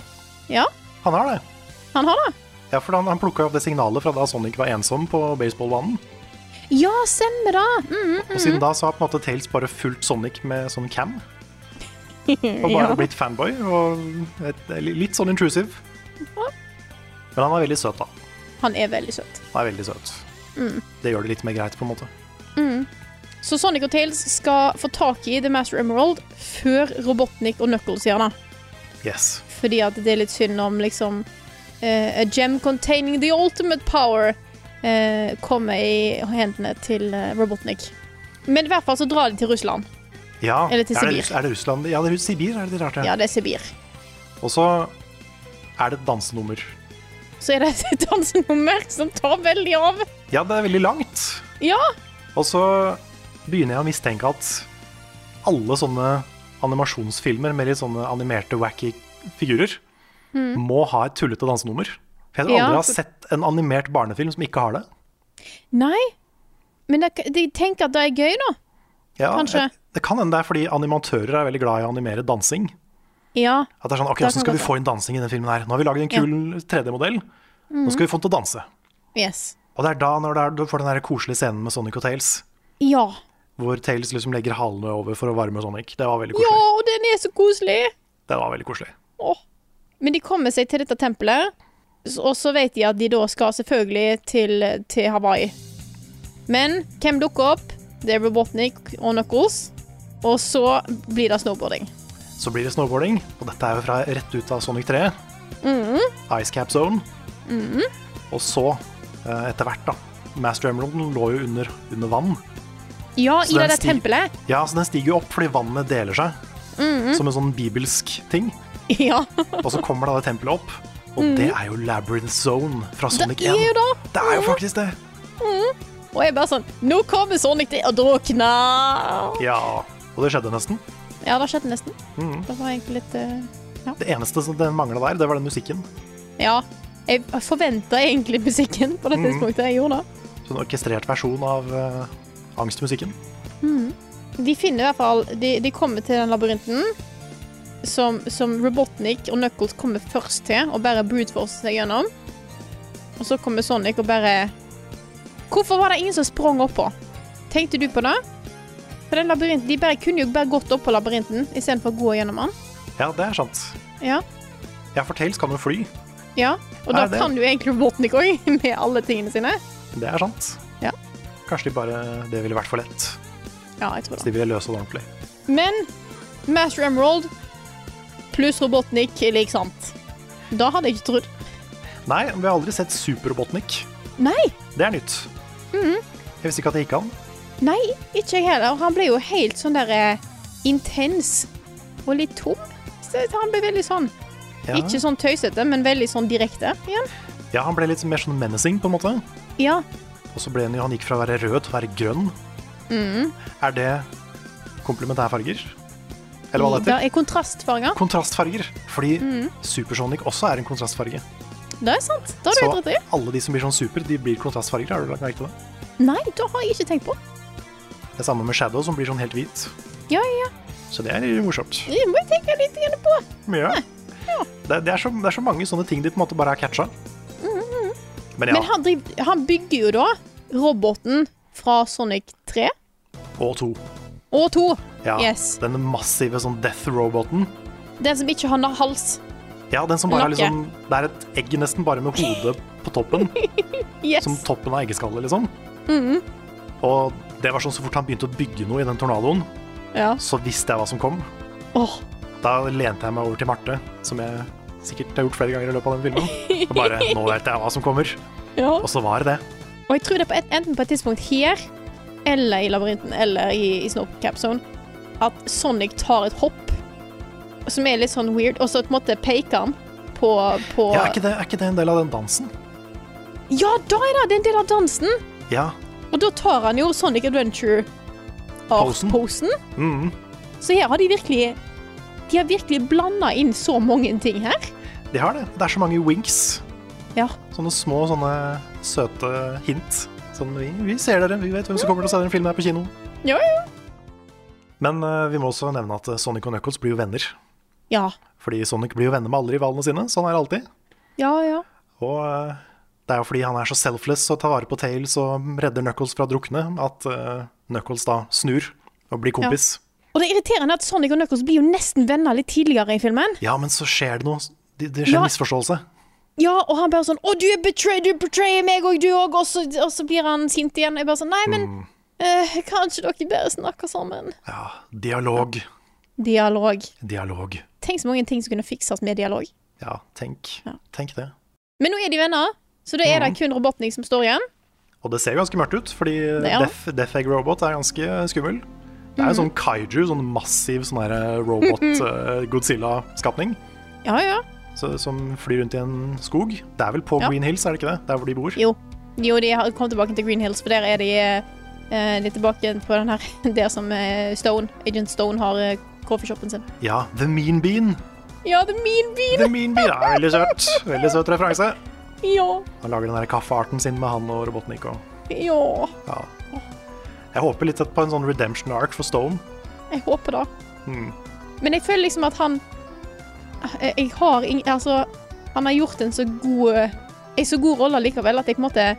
Ja,
han har det.
han har det.
Ja, for Han, han plukka opp det signalet fra da Sonic var ensom på baseballbanen.
Ja, stemmer det! Mm.
Og siden da så har på en måte Tails bare fulgt Sonic med sånn
*laughs*
cam. Og bare
Ja.
blitt fanboy. Og et, litt sånn intrusive.
Ja.
Men han er veldig søt, da.
Han er veldig søt.
Han er veldig søt.
Mm.
Det gjør det litt mer greit, på en måte.
Så Sonic og Tails skal få tak i The Master Emerald før Robotnik og Knuckles gjør det.
Yes.
Fordi at det er litt synd om liksom eh, A gem containing the ultimate power eh, kommer i hendene til eh, Robotnik. Men i hvert fall så drar de til Russland.
Ja,
Eller til
er det,
Sibir.
Russ- er det Russland? Ja, det er Russ- Sibir er det de drar til.
Ja, det er Sibir.
Og så er det et dansenummer.
Så er det et dansenummer som tar veldig av.
Ja, det er veldig langt.
Ja,
Og så begynner jeg å mistenke at alle sånne animasjonsfilmer med litt sånne animerte, wacky figurer må ha et tullete dansenummer. For jeg tror
Mm. Ja,
aldri jeg har
for-
sett en animert barnefilm som ikke har det.
nei. Men jeg, de tenker at det er gøy, da.
Ja,
Kanskje.
jeg- Det kan hende det er fordi animatører er veldig glad i å animere dansing.
Ja.
At det er sånn, ok,
Det
Hvordan
kan
skal vi
godt
få inn dansing i den filmen? her? Nå har vi laget en kul 3D-modell. Nå skal vi få den til å danse.
Yes.
Og det er da når det er, du får den der koselige scenen med Sonic og Tails,
Ja.
hvor Tails liksom legger halene over for å varme Sonic. Det var veldig
Ja,
koselig.
og den er så koselig!
Det var veldig koselig.
Åh. Men de kommer seg til dette tempelet, s- og så vet de at de da skal selvfølgelig til, til Hawaii. Men hvem dukker opp? Det er Robotnik og Knuckles. Og så blir det snowboarding.
Så blir det snowboarding, og dette er jo fra rett ut av Sonic 3.
Mhm.
Ice Cap Zone. Og så, eh, etter hvert, da Master Emeralden lå jo under, under vann.
Ja,
Så
i det
den
der
stig-
tempelet.
Ja, så den stiger jo opp fordi vannet deler seg.
Mhm.
Som en sånn bibelsk ting.
*laughs* Ja,
Og så kommer da det tempelet opp, og det er jo Labyrinth Zone fra
Mhm.
Sonic 1.
det er jo da.
Det er jo faktisk det.
Og jeg bare sånn Nå kommer Sonic til å drukne!
Ja. Og det skjedde nesten.
Ja, det skjedde nesten. Det var egentlig litt eh,
Det eneste som det mangla der, det var den musikken.
Ja. Jeg forventa egentlig musikken på det tidspunktet jeg gjorde det.
Så en Sånn orkestrert versjon av eh, angstmusikken.
De finner i hvert fall De, de kommer til den labyrinten som, som Robotnik og Knuckles kommer først til og bare brute-forcer seg gjennom. Og så kommer Sonic og bare Hvorfor var det ingen som sprang oppå? Tenkte du på det? For den labyrinten, De bare kunne jo bare gått opp på labyrinten istedenfor å gå gjennom den.
Ja, det er sant.
Ja.
Ja, for Tails kan jo fly.
ja. Og da
Er det?
kan jo egentlig Robotnik òg, *laughs* med alle tingene sine.
Det er sant.
Ja.
Kanskje de bare Det ville vært for lett.
Ja, jeg tror
Så
det.
de ville løse det ordentlig.
Men Master Emerald pluss Robotnik er lik sant. Da hadde jeg ikke trodd.
Nei, vi har aldri sett Superbotnik.
Nei!
Det er nytt.
Mhm.
Jeg visste ikke at det gikk an.
Nei, ikke jeg heller. Han ble jo helt sånn der eh, intens og litt tom. Så han ble veldig sånn.
Ja.
Ikke sånn tøysete, men veldig sånn direkte igjen.
ja, han ble litt mer sånn menacing, på en måte.
Ja.
Og så ble han, jo- han gikk fra å være rød til å være grønn.
Mhm.
Er det komplementærfarger? Eller hva det
Det
heter?
er kontrastfarger.
Kontrastfarger. Fordi Supersonic også er en kontrastfarge.
Det er sant. Mhm. Det har du
Så
helt rett i.
alle de som blir sånn super, de blir kontrastfarger. Har du lagt merke til det?
Nei, det har jeg ikke tenkt på.
Det er samme med Shadow, som blir sånn helt hvit.
Ja, ja, ja.
Så det er morsomt.
Det må jeg tenke litt igjen på.
Ja. Det, det, er så, det er så mange sånne ting de på en måte bare har catcha. Men ja,
Mm-hmm. Men han, driv, han bygger jo da roboten fra Sonic 3
og to.
og 2.
Ja,
Yes.
Den massive sånn death-roboten.
Den som ikke har hals.
Ja, den som bare er
Nakke.
liksom Det er et egg nesten bare med hodet på toppen.
*laughs* Yes. Mm-hmm.
Som toppen av eggeskallet, liksom. Og det var sånn så fort han begynte å bygge noe i den tornadoen,
Ja.
så visste jeg hva som kom.
Åh,
Da lente jeg meg over til Marte, som jeg sikkert har gjort flere ganger i løpet av den filmen.
*laughs*
Og bare Nå vet jeg hva som kommer.
ja.
Og så var det det.
Og jeg tror det er på et, enten på et tidspunkt her, eller i labyrinten, eller i, i Snow Cap Zone, at Sonic tar et hopp, som er litt sånn weird, og så på en måte peker han på, på
Ja, er ikke det, er ikke det en del av den dansen?
Ja, da er det, det er en del av dansen!
Ja.
Og da tar han jo Sonic Adventure-posen.
Posen. Mm.
Så her har de virkelig De har virkelig blanda inn så mange ting her.
De har det. Det er så mange winks.
Ja.
Sånne små, sånne søte hint. Sånn, vi, vi ser dere, vi vet hvem som kommer til å se den filmen her på kino.
Ja, ja.
Men eh, vi må også nevne at eh, Sonic og Knuckles blir jo venner.
Ja,
Fordi Sonic blir jo venner med alle rivalene sine. Sånn er det alltid.
ja. ja.
Og eh, det er jo fordi han er så selfless og tar vare på Tails og redder Knuckles fra å drukne, at eh, Knuckles da snur og blir kompis.
Og det er irriterende at Sonic og Knuckles blir jo nesten venner litt tidligere i filmen.
Ja, men så skjer det noe. Det, det skjer
Ja.
en misforståelse.
Ja, og han bare sånn 'Å, du er betray, du betrayer meg og du òg', og, så- og så blir han sint igjen. Jeg bare sånn Nei, men eh, kanskje dere bare snakker sammen.
Ja, dialog.
Dialog.
Dialog.
Tenk så mange ting som kunne fikses med dialog.
Ja, tenk.
Ja.
Tenk det.
Men nå er de venner, så da er det kun Robotnik som står igjen.
Og det ser jo ganske mørkt ut, fordi
Det Mhm. er han.
Death, Death Egg Robot er ganske skummel. Det er jo sånn kaiju, sånn massiv sånn
*laughs*
robot-Godzilla-skapning
Ja, ja.
eh, som flyr rundt i en skog. Det er vel på
Ja.
Green Hills, er det ikke det? Der hvor de bor.
Jo. Jo, de har kommet tilbake til Green Hills, for der er de, eh, de er tilbake på den her *laughs* Der som eh, Stone, Agent Stone har eh, coffeeshopen sin.
Ja, The Mean Bean.
Ja, det er min bil!
The Mean Bean er veldig søt. Veldig søt referanse.
Ja.
Han lager den der kaffearten sin med han og Robotnik og
Ja.
ja. Jeg håper litt på en sånn redemption arc for Stone.
Jeg håper det.
Mm.
Men jeg føler liksom at han Jeg, jeg har ing... Altså, han har gjort en så god eh, En så god rolle likevel at jeg på en måte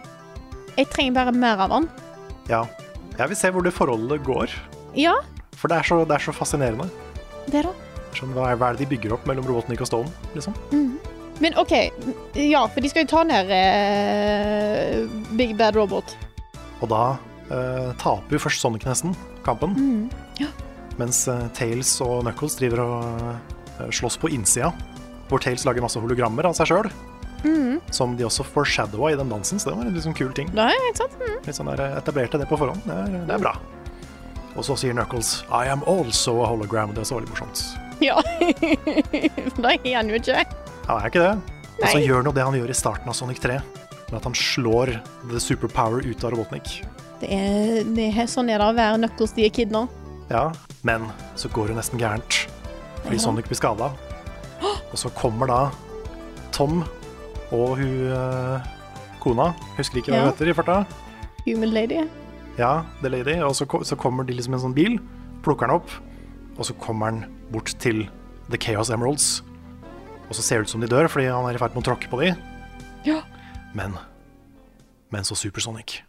Jeg trenger bare mer av han.
Ja. Jeg vil se hvor det forholdet går,
Ja,
for det er så, det er så fascinerende.
det da.
Sånn, hva, er, hva er det de bygger opp mellom Robotnik og Stone? Liksom?
Men OK. Ja, for de skal jo ta ned eh, Big Bad Robot.
Og da eh, taper jo først Sonic nesten kampen.
Mm. ja.
Mens eh, Tails og Knuckles driver og eh, slåss på innsida, hvor Tails lager masse hologrammer av seg sjøl.
Mm.
Som de også foreshadowa i den dansen, så det var en liksom kul ting.
Nei, ikke sant? Mm.
Litt sånn der, eh, etablerte det på forhånd. Det er, det er bra. Og så sier Knuckles 'I am also a hologram'. Det er så veldig morsomt.
Ja. *laughs* For det er han jo ikke.
Han er ikke det. Og så
Nei.
gjør han jo det han gjør i starten av Sonic 3, med at han slår The Superpower ut av Robotnik.
Det er, det er sånn er det å være Knuckles de er kid nå.
Ja, men så går det nesten gærent fordi Sonic blir skada. Og så kommer da Tom og hun eh, kona, husker ikke hva
Ja.
hun heter i farta.
Human lady.
Ja, The Lady. Og så, ko- så kommer de liksom i en sånn bil, plukker han opp, og så kommer han bort til The Chaos Emeralds. Og så ser det ut som de dør fordi han er i ferd med å tråkke på de.
Ja.
Men Men så Supersonic.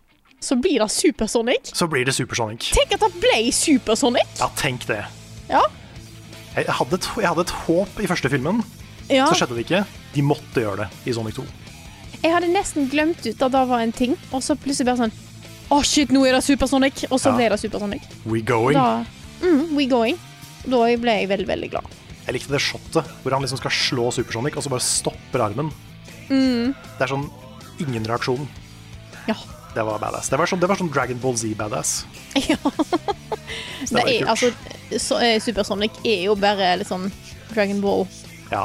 Så blir det Supersonic.
Så blir det Supersonic.
Tenk at det ble Supersonic!
Ja, tenk det.
Ja.
Jeg hadde, et, jeg hadde et håp i første filmen,
ja.
så skjedde det ikke. De måtte gjøre det i Sonic 2.
Jeg hadde nesten glemt ut at det var en ting, og så plutselig bare sånn Å, shit, nå er det Supersonic! Og så
Ja.
ble det Supersonic.
We going.
Da mm, We going. Da ble jeg veldig, veldig glad.
Jeg likte det shotet hvor han liksom skal slå Supersonic, og så bare stopper armen.
Mm.
Det er sånn ingen reaksjon.
Ja.
Det var badass. Det var sånn, det var sånn Dragon Ball Z-badass.
*laughs* ja. Det
var kult.
er, altså, så, eh, Supersonic er jo bare litt sånn Dragon Ball-scene.
Ja.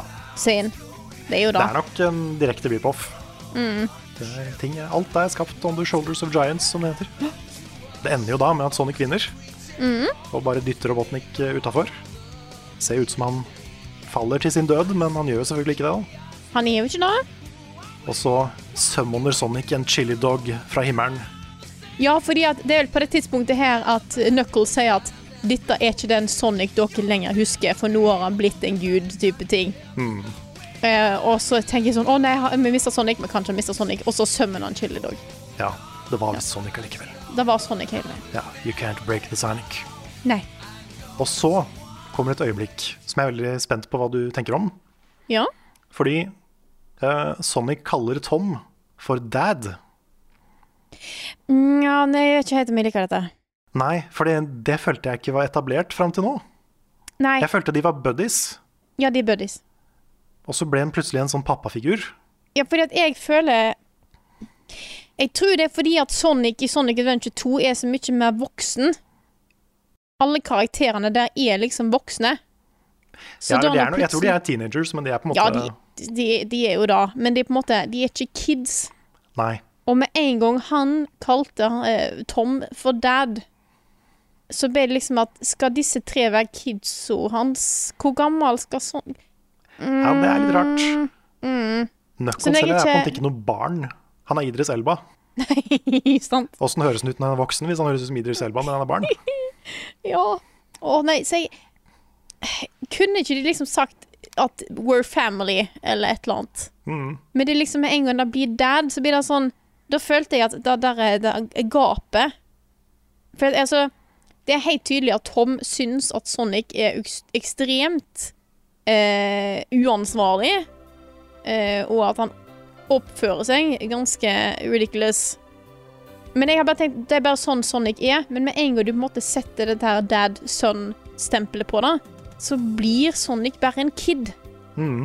Det er jo
Det
da. Mm.
er nok en direkte rip-off. Det er ting, alt er skapt on the shoulders of giants, som det heter. Det ender jo da med at Sonic vinner,
Mm.
og bare dytter Robotnik utafor. Ser ut som han faller til sin død, men han gjør jo selvfølgelig ikke det. da.
Han er jo ikke det.
Og så summoner Sonic en chili dog fra himmelen.
Ja, fordi at det er vel på det tidspunktet her at Knuckles sier at dette er ikke den Sonic dere lenger husker, for nå har han blitt en gud-type ting. Eh, og så tenker jeg sånn Å nei, ha- vi mista Sonic, vi kan ikke miste Sonic. Og så sømmer han Chili Dog.
Ja, det var visst Sonic allikevel.
Det var Sonic hele veien.
Ja, you can't break the Sonic.
Nei.
Og så kommer et øyeblikk som jeg er veldig spent på hva du tenker om.
Ja?
Fordi eh, Sonic kaller Tom for dad.
Nja, nei, jeg er ikke helt om jeg liker dette.
Nei, for det, det følte jeg ikke var etablert fram til nå.
Nei.
Jeg følte de var buddies,
Ja, de er buddies.
og så ble han plutselig en sånn pappafigur.
Ja, fordi at jeg føler Jeg tror det er fordi at Sonic i Sonic Adventure 2 er så mye mer voksen. Alle karakterene der er liksom voksne. Så
Ja,
da
eller de
når
er, no- jeg tror de
plutselig-
er teenagers, men de er på en måte
Ja, de, de, de er jo da, men de er på en måte De er ikke kids.
Nei.
Og med en gang han kalte eh, Tom for dad, så ble det liksom at Skal disse tre være kidsa hans? Hvor gammel skal *laughs* sånn
Ja, det er litt rart.
Mm. Så
Knuckles
når jeg
heller er på en
ikke-
måte ikke noe barn. Han er Idris Elba.
Sant?
Åssen høres han ut når han er voksen? Hvis han høres ut som Idris Elba, men han
*laughs*
er barn?
Ja. Å nei, så jeg Kunne ikke de liksom sagt at we're family, eller et eller annet?
Mm.
Men det er liksom med en gang det blir dad, så blir det sånn Da følte jeg at det der er det er gapet. For at, altså Det er helt tydelig at Tom syns at Sonic er eks- ekstremt eh, uansvarlig, eh, og at han oppfører seg ganske ridiculous. Men jeg har bare tenkt, det er bare sånn Sonic er, men med en gang du på en måte setter dette her dad-son-stempelet på det, så blir Sonic bare en kid.
Mm.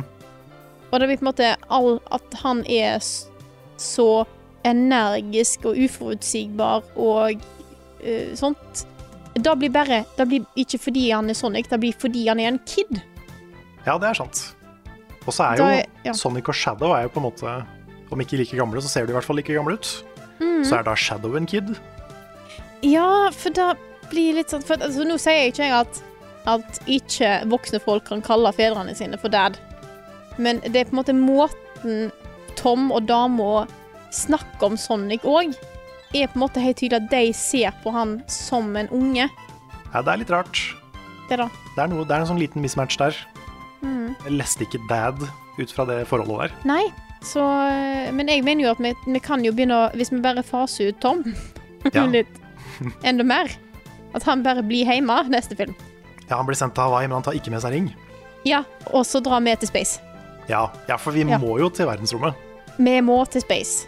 Og det blir på en måte all, at han er s- så energisk og uforutsigbar og eh, sånt. Da blir bare Det blir ikke fordi han er Sonic, det blir fordi han er en kid.
Ja, det er sant. Og så er
Da
jo
er- ja.
Sonic og Shadow er jo på en måte Om ikke like gamle, så ser de i hvert fall like gamle ut.
Mm.
Så er da Shadow en kid.
Ja, for da blir det litt sånn For at- altså, nå sier jeg ikke jeg at, at ikke voksne folk kan kalle fedrene sine for dad. Men det er på en måte måten Tom og dama snakker om Sonic òg, er på en måte helt tydelig at de ser på han som en unge.
Ja, det er litt rart.
Det da.
Det er, noe, det er en sånn liten mismatch der.
Mm.
Jeg leste ikke dad ut fra det forholdet
*laughs*
der.
Nei, så Men jeg mener jo at vi, vi kan jo begynne å Hvis vi bare faser ut Tom *laughs*
Ja.
litt enda mer, at han bare blir hjemme neste film.
Ja, Han blir sendt til Hawaii, men han tar ikke med seg ring.
Ja, og så drar vi til space.
Ja, ja for vi
Ja.
må jo til verdensrommet.
Vi må til space.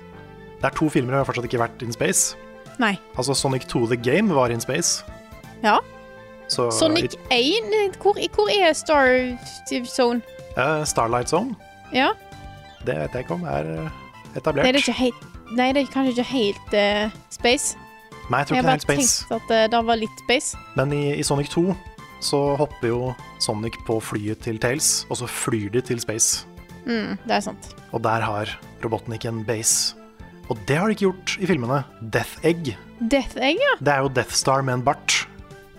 Det er to filmer og vi har fortsatt ikke vært in space.
Nei.
Altså Sonic 2 The Game var in space.
Ja.
Så
Sonic 1 eh, Hvor, hvor er Star Zone?
eh, Starlight Zone,
Ja?
det vet jeg ikke om er eh, etablert.
Nei, det er ikke helt Nei, det er kanskje ikke helt eh, space.
Nei, jeg tror
Jeg
ikke det
bare
er helt space.
tenkte at eh, det var litt space.
Men i, i Sonic 2 så hopper jo Sonic på flyet til Tails, og så flyr de til space.
Mm, det er sant.
Og der har Robotnik en base. Og det har de ikke gjort i filmene. Death Egg.
Death Egg, ja.
Det er jo Death Star med en bart.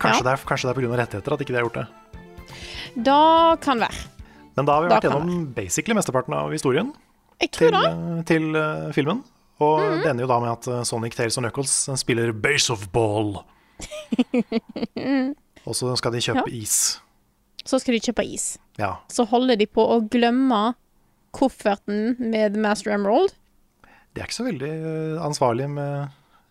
Kanskje
Ja.
det er, kanskje det er pga. rettigheter at ikke de har gjort det.
Da kan være.
Men da har vi
Da
vært
kan
gjennom basically mesteparten av historien.
Jeg tror
til,
det.
eh, til eh, filmen. Og
Mhm.
det ender jo da med at eh, Sonic, Tails og Knuckles eh, spiller Base of Ball.
*laughs*
og så skal de kjøpe is.
Så skal de kjøpe is.
Ja.
Så holder de på å glemme kofferten med The Master Emerald.
De er ikke så veldig eh, ansvarlige med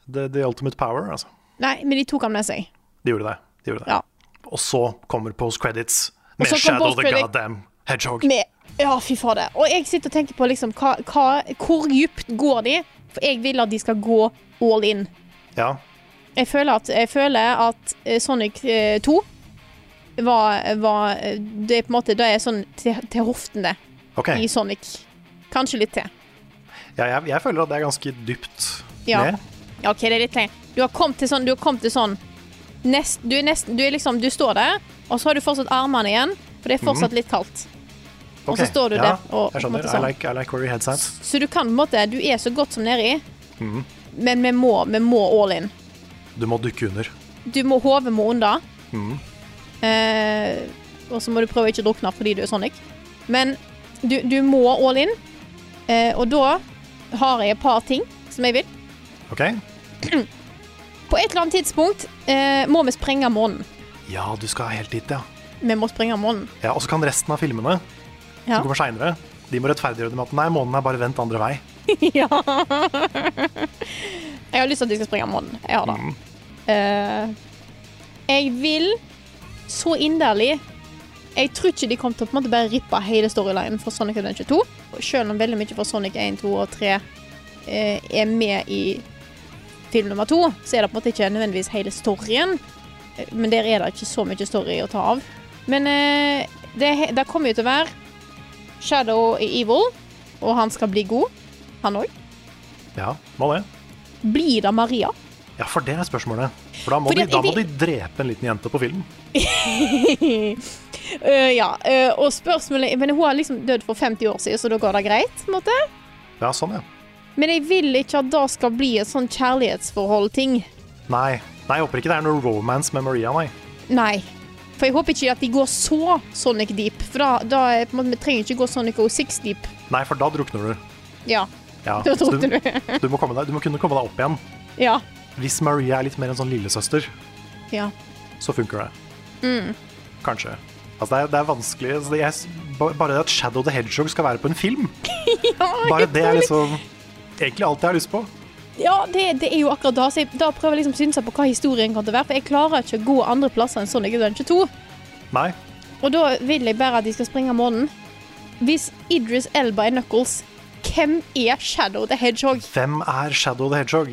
the, the Ultimate Power, altså.
Nei, men de tok han med seg.
De gjorde det. De gjorde det.
Ja.
Og så kommer post credits med
så kom
Shadow the
post-credit.
Goddamn Hedgehog.
Med Ja, fy fader. Og jeg sitter og tenker på liksom hva, hva, Hvor dypt går de? For jeg vil at de skal gå all in.
Ja.
Jeg føler at, jeg føler at eh, Sonic eh, 2 var, var eh, Det er på en måte Det er sånn til, til hoften, det,
OK.
i Sonic. Kanskje litt til.
Ja, jeg, jeg føler at det er ganske dypt
Ja.
ned.
Ja, OK, det er litt lenger. Du har kommet til sånn, du har kommet til sånn nest, du, er nesten, du er liksom Du står der, og så har du fortsatt armene igjen, for det er fortsatt litt kaldt. Og så
Ok,
står du
ja,
der og
Jeg
på en
skjønner.
måte
I
sånn.
like, I like where your head's at.
Så du kan på en måte Du er så godt som nedi, men vi må, vi må all in.
Du må dukke under.
Du må hodet må unna. Eh, og så må du prøve å ikke drukne fordi du er Sonic. Men du, du må all in. Eh, og da har jeg et par ting som jeg vil.
OK?
På et eller annet tidspunkt eh, må vi sprenge månen.
Ja, du skal helt dit, ja.
Vi må sprenge månen.
Ja, Og så kan resten av filmene
Ja.
som kommer seinere, de må rettferdiggjøre det med at nei, månen er bare vendt andre vei.
ja. Jeg har lyst til at de skal springe om månen. Jeg har det. Eh, jeg vil så inderlig Jeg tror ikke de kommer til å på en måte bare rippe hele storylinen fra Sonic Adventure 2. Selv om veldig mye fra Sonic 1, 2 og 3 eh, er med i film nummer to, så er det på en måte ikke nødvendigvis hele storyen. Eh, Men der er det ikke så mye story å ta av. Men eh, det, he- det kommer jo til å være Shadow er evil, og han skal bli god. Han òg.
Ja, må det.
Blir det Maria?
Ja, for det er spørsmålet. For da må,
Fordi
de, da
vi-
må de drepe en liten jente på film.
Eh, ja. eh, og spørsmålet Men hun har liksom dødd for 50 år siden, så da går det greit? på en måte.
Ja, sånn, ja.
Men jeg vil ikke at det skal bli et sånn kjærlighetsforhold-ting.
Nei, nei, jeg håper ikke det er noe romance med Maria, nei.
Nei. For jeg håper ikke at de går så Sonic Deep. For da, da er på en måte, vi trenger ikke gå Sonic O6 Deep.
Nei, for da drukner du.
Ja.
Ja.
*laughs* Da
så
drukner
du, du, må komme deg, du må kunne komme deg opp igjen.
Ja.
Hvis Maria er litt mer en sånn lillesøster,
ja.
så funker det.
Mm.
Kanskje. Altså, det er, det er vanskelig. Altså, det er, ba- bare det at Shadow the Hedgehog skal være på en film, bare det er liksom egentlig alt jeg har lyst på.
Ja, det, det er jo akkurat da. Så jeg, da prøver jeg liksom å synse på hva historien kan til å være. For jeg klarer ikke å gå andre plasser enn Sonic Adventure 2.
Nei,
Og da vil jeg bare at de skal springe månen. Hvis Idris Elba er Knuckles, hvem er Shadow the Hedgehog?
hvem er Shadow the Hedgehog?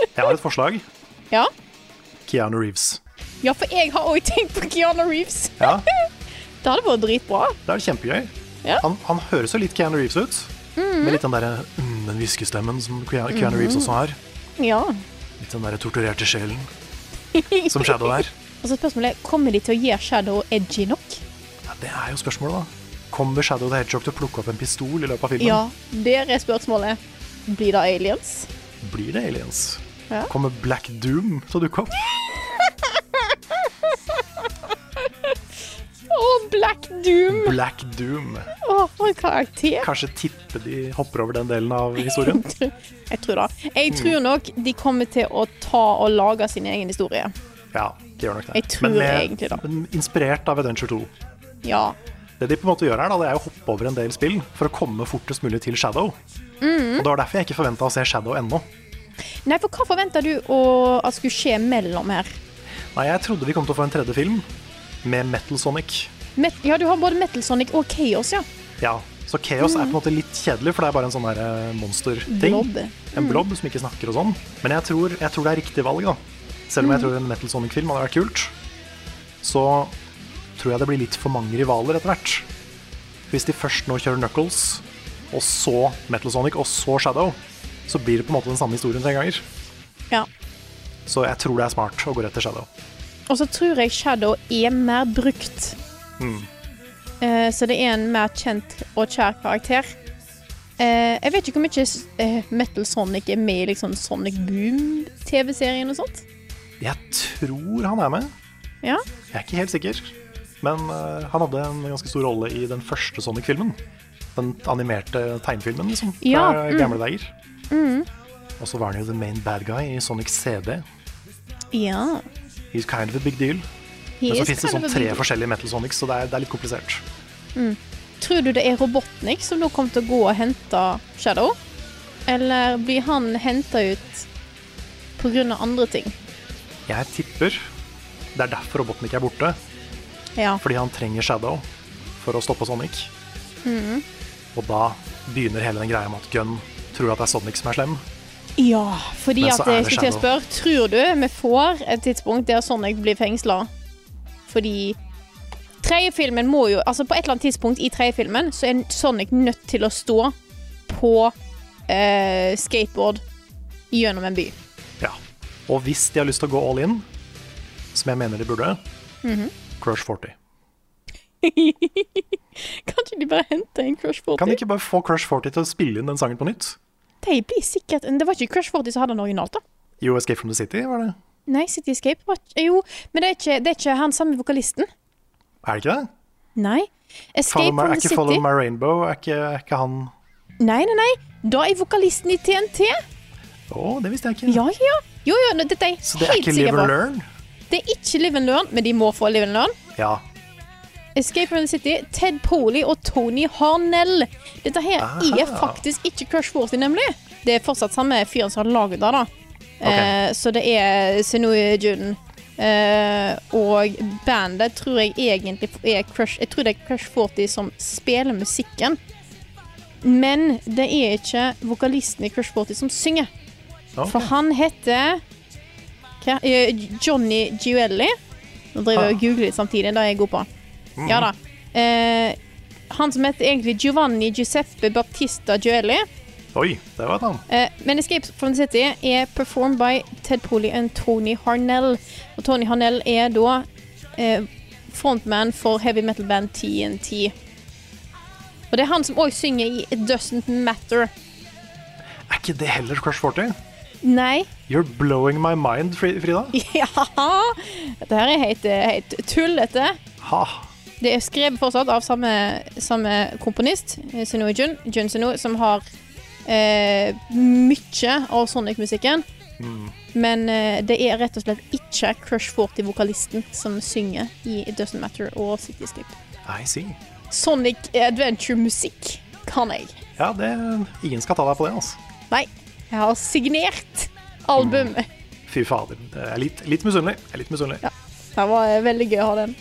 Jeg har et forslag.
Ja,
Keanu Reeves.
ja for jeg har òg tenkt på Keanu Reeves.
Ja,
Det hadde vært dritbra.
det er kjempegøy.
Ja. Mhm.
Han, han høres jo litt Keanu Reeves ut. Med litt den der, mm, den hviskestemmen som Keanu Keanu Reeves også har.
Ja.
Litt den der torturerte sjelen som Shadow er.
Og så spørsmålet er, kommer de til å gjøre Shadow edgy nok?
Ja, det er jo spørsmålet, da. Kommer Shadow the Hedgehog til å plukke opp en pistol i løpet av filmen?
Ja, der er spørsmålet. Blir det aliens?
Blir det aliens?
Ja.
Kommer Black Doom til å dukke opp?
Å, Black Doom!
Black Doom.
Å, for en karakter.
Kanskje tippe de hopper over den delen av historien?
*laughs* Jeg tror det. Jeg tror nok de kommer til å ta og lage sin egen historie.
Ja, de gjør nok det.
Jeg tror egentlig da.
men inspirert av Adventure 2.
Ja.
Det de på en måte gjør her, da, det er å hoppe over en del spill for å komme fortest mulig til Shadow. Og Det var derfor jeg ikke forventa å se Shadow ennå.
Nei, for hva forventer du å, at skulle skje mellom her?
Nei, Jeg trodde vi kom til å få en tredje film med Metal Sonic.
Met ja, du har både Metal Sonic og Chaos, ja.
Ja, Så Chaos er på en måte litt kjedelig, for det er bare en sånn her, eh, monster-ting.
Blob.
En blob som ikke snakker og sånn. Men jeg tror, jeg tror det er riktig valg, da. Selv om jeg tror en Metal Sonic-film hadde vært kult, så tror jeg det blir litt for mange rivaler etter hvert. Hvis de først nå kjører Knuckles, og så Metal Sonic, og så Shadow, så blir det på en måte den samme historien tre ganger.
ja.
Så jeg tror det er smart å gå rett til Shadow.
Og så tror jeg Shadow er mer brukt.
Hmm.
Eh, så det er en mer kjent og kjær karakter. Eh, jeg vet ikke hvor mye eh, Metal Sonic er med i liksom Sonic Boom-TV-serien og sånt.
Jeg tror han er med.
Ja.
Jeg er ikke helt sikker. Men eh, han hadde en ganske stor rolle i den første Sonic-filmen. Den animerte tegnefilmen, liksom.
Ja,
fra
mm.
gamle dager. Og så var han jo the main bad guy i Sonic CD.
ja.
He's kind of a big deal.
He
Men så
is
fins det
kind
sånn
of a
tre
big-
forskjellige Metal Sonics, så det er, det er litt komplisert.
Tror du det er Robotnik som nå kommer til å gå og hente Shadow? Eller blir han henta ut pga. andre ting?
Jeg tipper det er derfor Robotnik er borte.
Ja.
Fordi han trenger Shadow for å stoppe Sonic.
Mm.
Og da begynner hele den greia med at Gunn tror at det er Sonic som er slem.
Ja, fordi
Men
at
så er
jeg
det
skulle til å
Shadow.
spørre Tror du vi får et tidspunkt der Sonic blir fengsla? Fordi tredje filmen må jo Altså På et eller annet tidspunkt i tredje filmen så er Sonic nødt til å stå på eh, skateboard gjennom en by. *laughs*
Ja. Og hvis de har lyst til å gå all in, som jeg mener de burde,
Mhm.
Crush 40.
Kan ikke de bare hente en Crush 40?
Kan de ikke bare få Crush 40 til å spille inn den sangen på nytt?
De blir sikkert Det var ikke Crush 40 som hadde den originalt, da.
Jo, Escape from the City, var det?
Nei, City Escape var ikke Jo, men det er ikke, det er ikke han samme vokalisten.
Er det ikke det?
Nei.
Follow
Escape
my, er
from the
ikke Follow
City.
My Rainbow er ikke, er ikke han
Nei, nei, nei. Da er vokalisten i TNT.
Å, det visste jeg ikke.
Ja, ja. Jo, jo, nå- dette er jeg
Så det er
helt
ikke Live
sikker
and
på.
Learn?
Det er ikke Live and Learn, men de må få Live and Learn.
Ja.
Escape from the City, Ted Poley og Tony Harnell. Dette her
Aha.
er faktisk ikke Crush 40, nemlig. Det er fortsatt samme fyren som har laget det, da. Eh, så det er Senoe Juden. Eh, og bandet tror jeg egentlig er Crush Jeg tror det er Crush 40 som spiller musikken. Men det er ikke vokalisten i Crush 40 som synger.
Ok.
For han heter hva, eh, Johnny Giuelli. Nå driver jeg og googler litt samtidig, det er jeg god på. Ja da. Eh, han som heter egentlig Giovanni Giuseppe Baptista Giuelli.
Oi, det var et navn.
Eh, men 'Escape from the City' er performed by Ted Polly og Tony Harnell. Og Tony Harnell er da eh, frontman for heavy metal-band TNT. Og det er han som òg synger i 'It Doesn't Matter'.
Er ikke det heller Crush 40?
Nei.
You're blowing my mind, Fri- Frida.
*laughs* Ja! Dette her er helt, eh, helt tullete.
Ha.
Det er skrevet fortsatt av samme, samme komponist, eh, Sunoo Jun, Jun Sunoo, som har eh, mye av sonic-musikken. Men eh, det er rett og slett ikke Crush 40-vokalisten som synger i It Doesn't Matter og City Escape.
I see.
Sonic Adventure-musikk kan jeg.
Ja, det, ingen skal ta deg på det, altså.
Nei, jeg har signert albumet.
Fy fader. Jeg er litt, litt misunnelig. Jeg er litt misunnelig.
Det var eh, veldig gøy å ha den.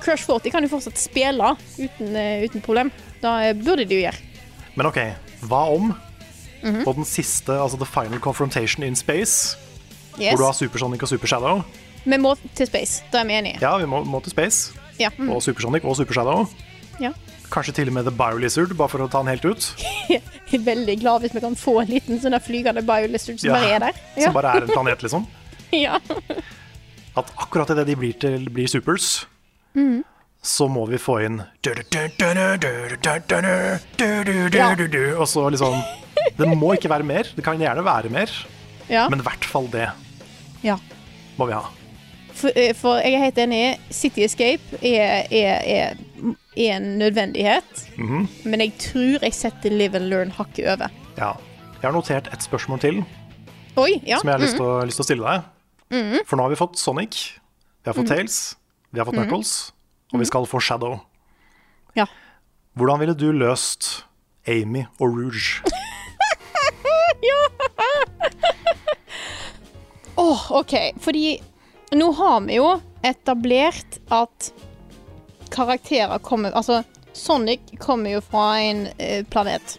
Crush 40 kan jo fortsatt spille uten, eh, uten problem. Da eh, burde de jo gjøre.
Men OK, hva om
Mhm.
på den siste, altså The Final Confrontation in Space, hvor
Yes.
du har Supersonic og Supershadow
Vi må til space, da er vi enige.
Ja, vi må, må til Space.
Ja. *laughs* Mm.
Og Supersonic og Supershadow.
Ja.
Kanskje til og med The Biolizard, bare for å ta den helt ut.
Jeg er veldig glad hvis vi kan få en liten sånn der flygende biolizard som
Ja.
*laughs* bare er der. Ja.
Som bare er en planet, liksom.
ja.
At akkurat idet de blir, til, blir supers,
Mhm.
så må vi få inn Og så liksom Det må ikke være mer. Det kan gjerne være mer,
Ja.
men i hvert fall det
ja.
må vi ha.
For, eh, for jeg er helt enig, City Escape er, er, er, er en nødvendighet.
Mhm.
Men jeg tror jeg setter Live and Learn hakket over.
Ja. Jeg har notert et spørsmål til
Oi, ja. Mm.
som jeg har lyst til å- lyst til å stille deg. For nå har vi fått Sonic, vi har fått
Mm.
Tails, vi har fått Knuckles, og vi skal få Shadow.
ja.
Hvordan ville du løst Amy og Rouge?
Åh, OK. Fordi nå har vi jo etablert at karakterer kommer Altså, Sonic kommer jo fra en eh, planet.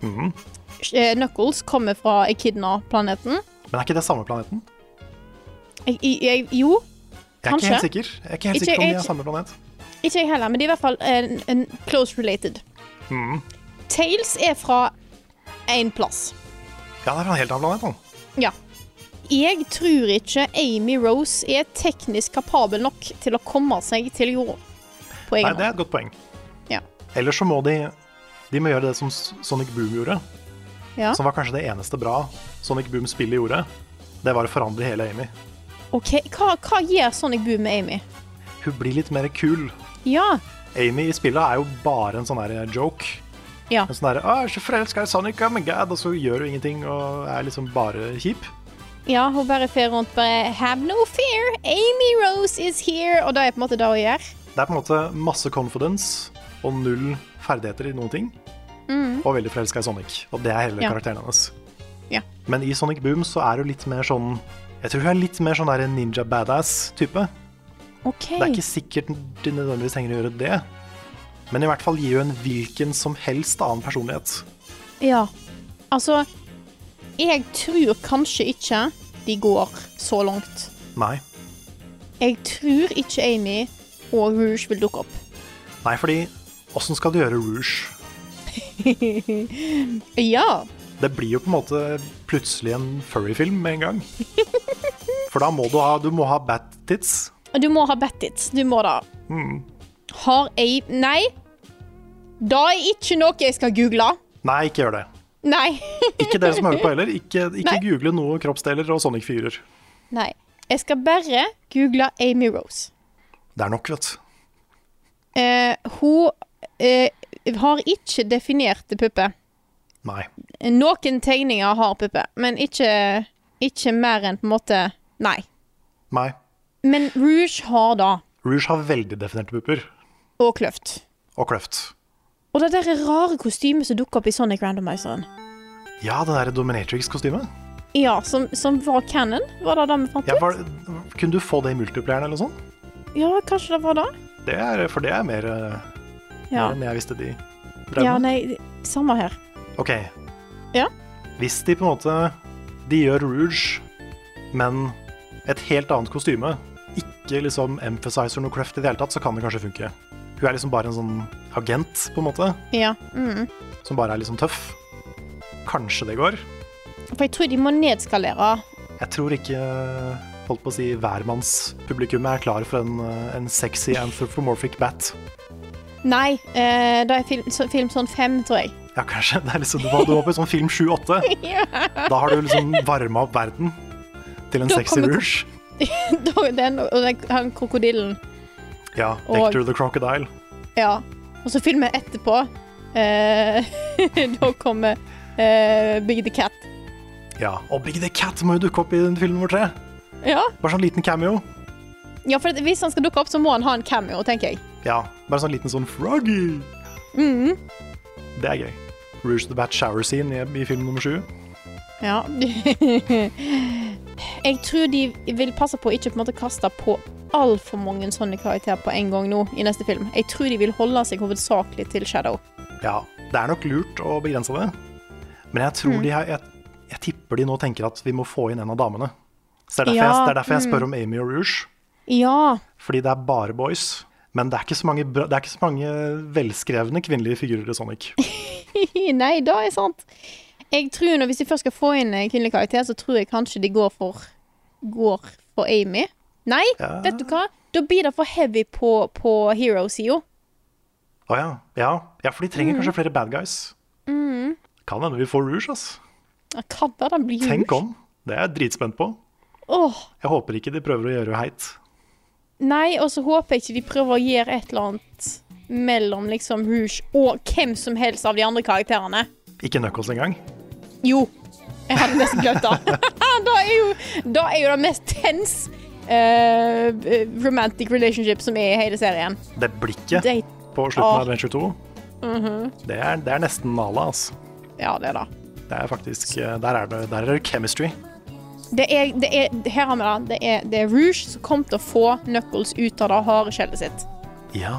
Mhm.
Eh, Knuckles kommer fra Echidna-planeten.
Men er ikke det samme planeten?
Jeg- jeg- jeg- Jo,
Jeg er ikke
Kanskje.
helt sikker Jeg er ikke helt
Ikke-
sikker på om
jeg-
de er samme planet.
ikke jeg heller, men de er i hvert fall en, en close related.
Mhm.
Tails er fra én plass.
Ja, det er fra en helt annen planet. da.
Ja. Jeg tror ikke Amy Rose er teknisk kapabel nok til å komme seg til jorda. På egen
Nei, det
hånd.
er et godt poeng.
Ja.
Ellers så må de De må gjøre det som S- Sonic Boom gjorde,
Ja.
som var kanskje det eneste bra Sonic Boom-spillet gjorde. Det var å forandre hele Amy.
Ok, hva, hva gjør Sonic Boom med Amy?
Hun blir litt mer kul.
Ja,
Amy i spillet er jo bare en sånn her joke.
ja,
En sånn derre 'Å, jeg er så forelska i Sonic, oh my god', og så gjør hun ingenting og er liksom bare kjip.
ja, hun bare fer rundt bare Have no fear, Amy Rose is here. Og det er på en måte det hun gjør.
Det er på en måte masse confidence og null ferdigheter i noen ting. Og veldig forelska i Sonic, og det er hele
Mm. Ja.
karakteren hennes.
Ja.
Men i Sonic Boom så er hun litt mer sånn Jeg tror hun er litt mer sånn der ninja badass-type.
OK.
Det er ikke sikkert de nødvendigvis trenger å gjøre det, men i hvert fall gir hun en hvilken som helst annen personlighet.
Ja. Altså, jeg tror kanskje ikke de går så langt.
Nei.
Jeg tror ikke Amy og Rouge vil dukke opp.
Nei, fordi åssen skal du gjøre Rouge?
Ja.
Det blir jo på en måte plutselig en furry-film med en gang. For da må du ha, du må ha bat-tits.
Du må ha Battits. Du må det.
Hmm.
Har jeg Nei. Det er ikke noe jeg skal google.
Nei, ikke gjør det.
Nei. *laughs*
Ikke dere som hører på heller. Ikke, ikke
Nei.
google noe kroppsdeler og Sonic-fyrer.
Nei. Jeg skal bare google Amy Rose.
Det er nok, vet du.
Eh, hun eh, har ikke definerte pupper.
Nei.
Noen tegninger har pupper, men ikke, ikke mer enn på en måte Nei.
Nei.
Men Rouge har da,
Rouge har veldig definerte pupper.
og kløft.
Og kløft.
Og det der rare kostymet som dukker opp i Sonic Randomizeren.
Ja, det der Dominatrix-kostymet.
Ja, som, som var canon, var det det vi fant
Ja,
ut?
var- kunne du få det i multiplayeren eller noe sånt?
Ja, kanskje det var det?
Det er, for det er mer, eh,
Ja.
mer enn jeg visste de drev
ja,
med.
nei, samme her.
OK.
Ja.
Hvis de på en måte de gjør Rouge, men et helt annet kostyme, ikke liksom emphasizer noe craft i det hele tatt, så kan det kanskje funke. Hun er liksom bare en sånn agent, på en måte,
Ja. Mm.
som bare er liksom tøff. Kanskje det går.
For jeg tror de må nedskalere.
Jeg tror ikke holdt på å si hvermannspublikummet er klar for en, eh, en sexy anthropomorphic bat.
Nei, eh, da er film, så, film sånn fem, tror jeg. *laughs*
Ja, kanskje. Det er liksom, du var du var på sånn film 7-8. Da har du liksom varma opp verden til en
Da
sexy
kommer-
rouge.
Da er den, og den, han krokodillen.
Ja,
Og-
Victor the Crocodile.
Ja. Og så filmen etterpå. Eh, *laughs* da kommer eh, Big the Cat.
Ja, Og Big the Cat må jo dukke opp i film nummer tre.
Ja.
Bare sånn liten cameo.
ja, for hvis han skal dukke opp, så må han ha en cameo, tenker jeg.
Ja, bare sånn liten sånn froggy.
Mhm.
Det er gøy. Rouge the Bat shower scene i, i film nummer sju.
Ja. *laughs* jeg tror de vil passe på å ikke på en måte kaste på altfor mange sånne karakterer på en gang nå i neste film. Jeg tror de vil holde seg hovedsakelig til Shadow.
Ja, det er nok lurt å begrense det. Men jeg
Mm.
tror de har jeg, jeg tipper de nå tenker at vi må få inn en av damene. Så det er derfor,
Ja, mm.
jeg, det er derfor jeg spør om Amy og Rouge.
Ja.
Fordi det er bare boys. Men det er ikke så mange, bra- det er ikke så mange velskrevne kvinnelige figurer i Sonic.
Nei, det er sant. Jeg tror nå, Hvis de først skal få inn en kvinnelig karakter, så tror jeg kanskje de går for Går for Amy. Nei, vet du hva? Da blir det for heavy på, på hero-sida.
Å ja. ja. Ja, for de trenger kanskje flere bad guys. Kan hende vi får Rouge, ass.
Hva da? Den blir
Tenk om. Det er jeg dritspent på.
Åh,
Jeg håper ikke de prøver å gjøre henne heit.
Nei, og så håper jeg ikke de prøver å gjøre et eller annet mellom liksom Rouge og hvem som helst av de andre karakterene.
Ikke Knuckles engang.
Jo. Jeg hadde nesten glemt det. *laughs* da, er jo, da er jo det mest tense eh, romantic relationship som er i hele
*laughs*
serien.
Det blikket
De,
på slutten av
Åh.
Adventure 2, det, er, det er nesten Nala, ass.
ja, det er det.
Det er faktisk eh, Der er det, der er det chemistry.
Det er, det er, her har vi det. Det er, det er Rouge som kom til å få Knuckles ut av det harde skjellet sitt.
Ja.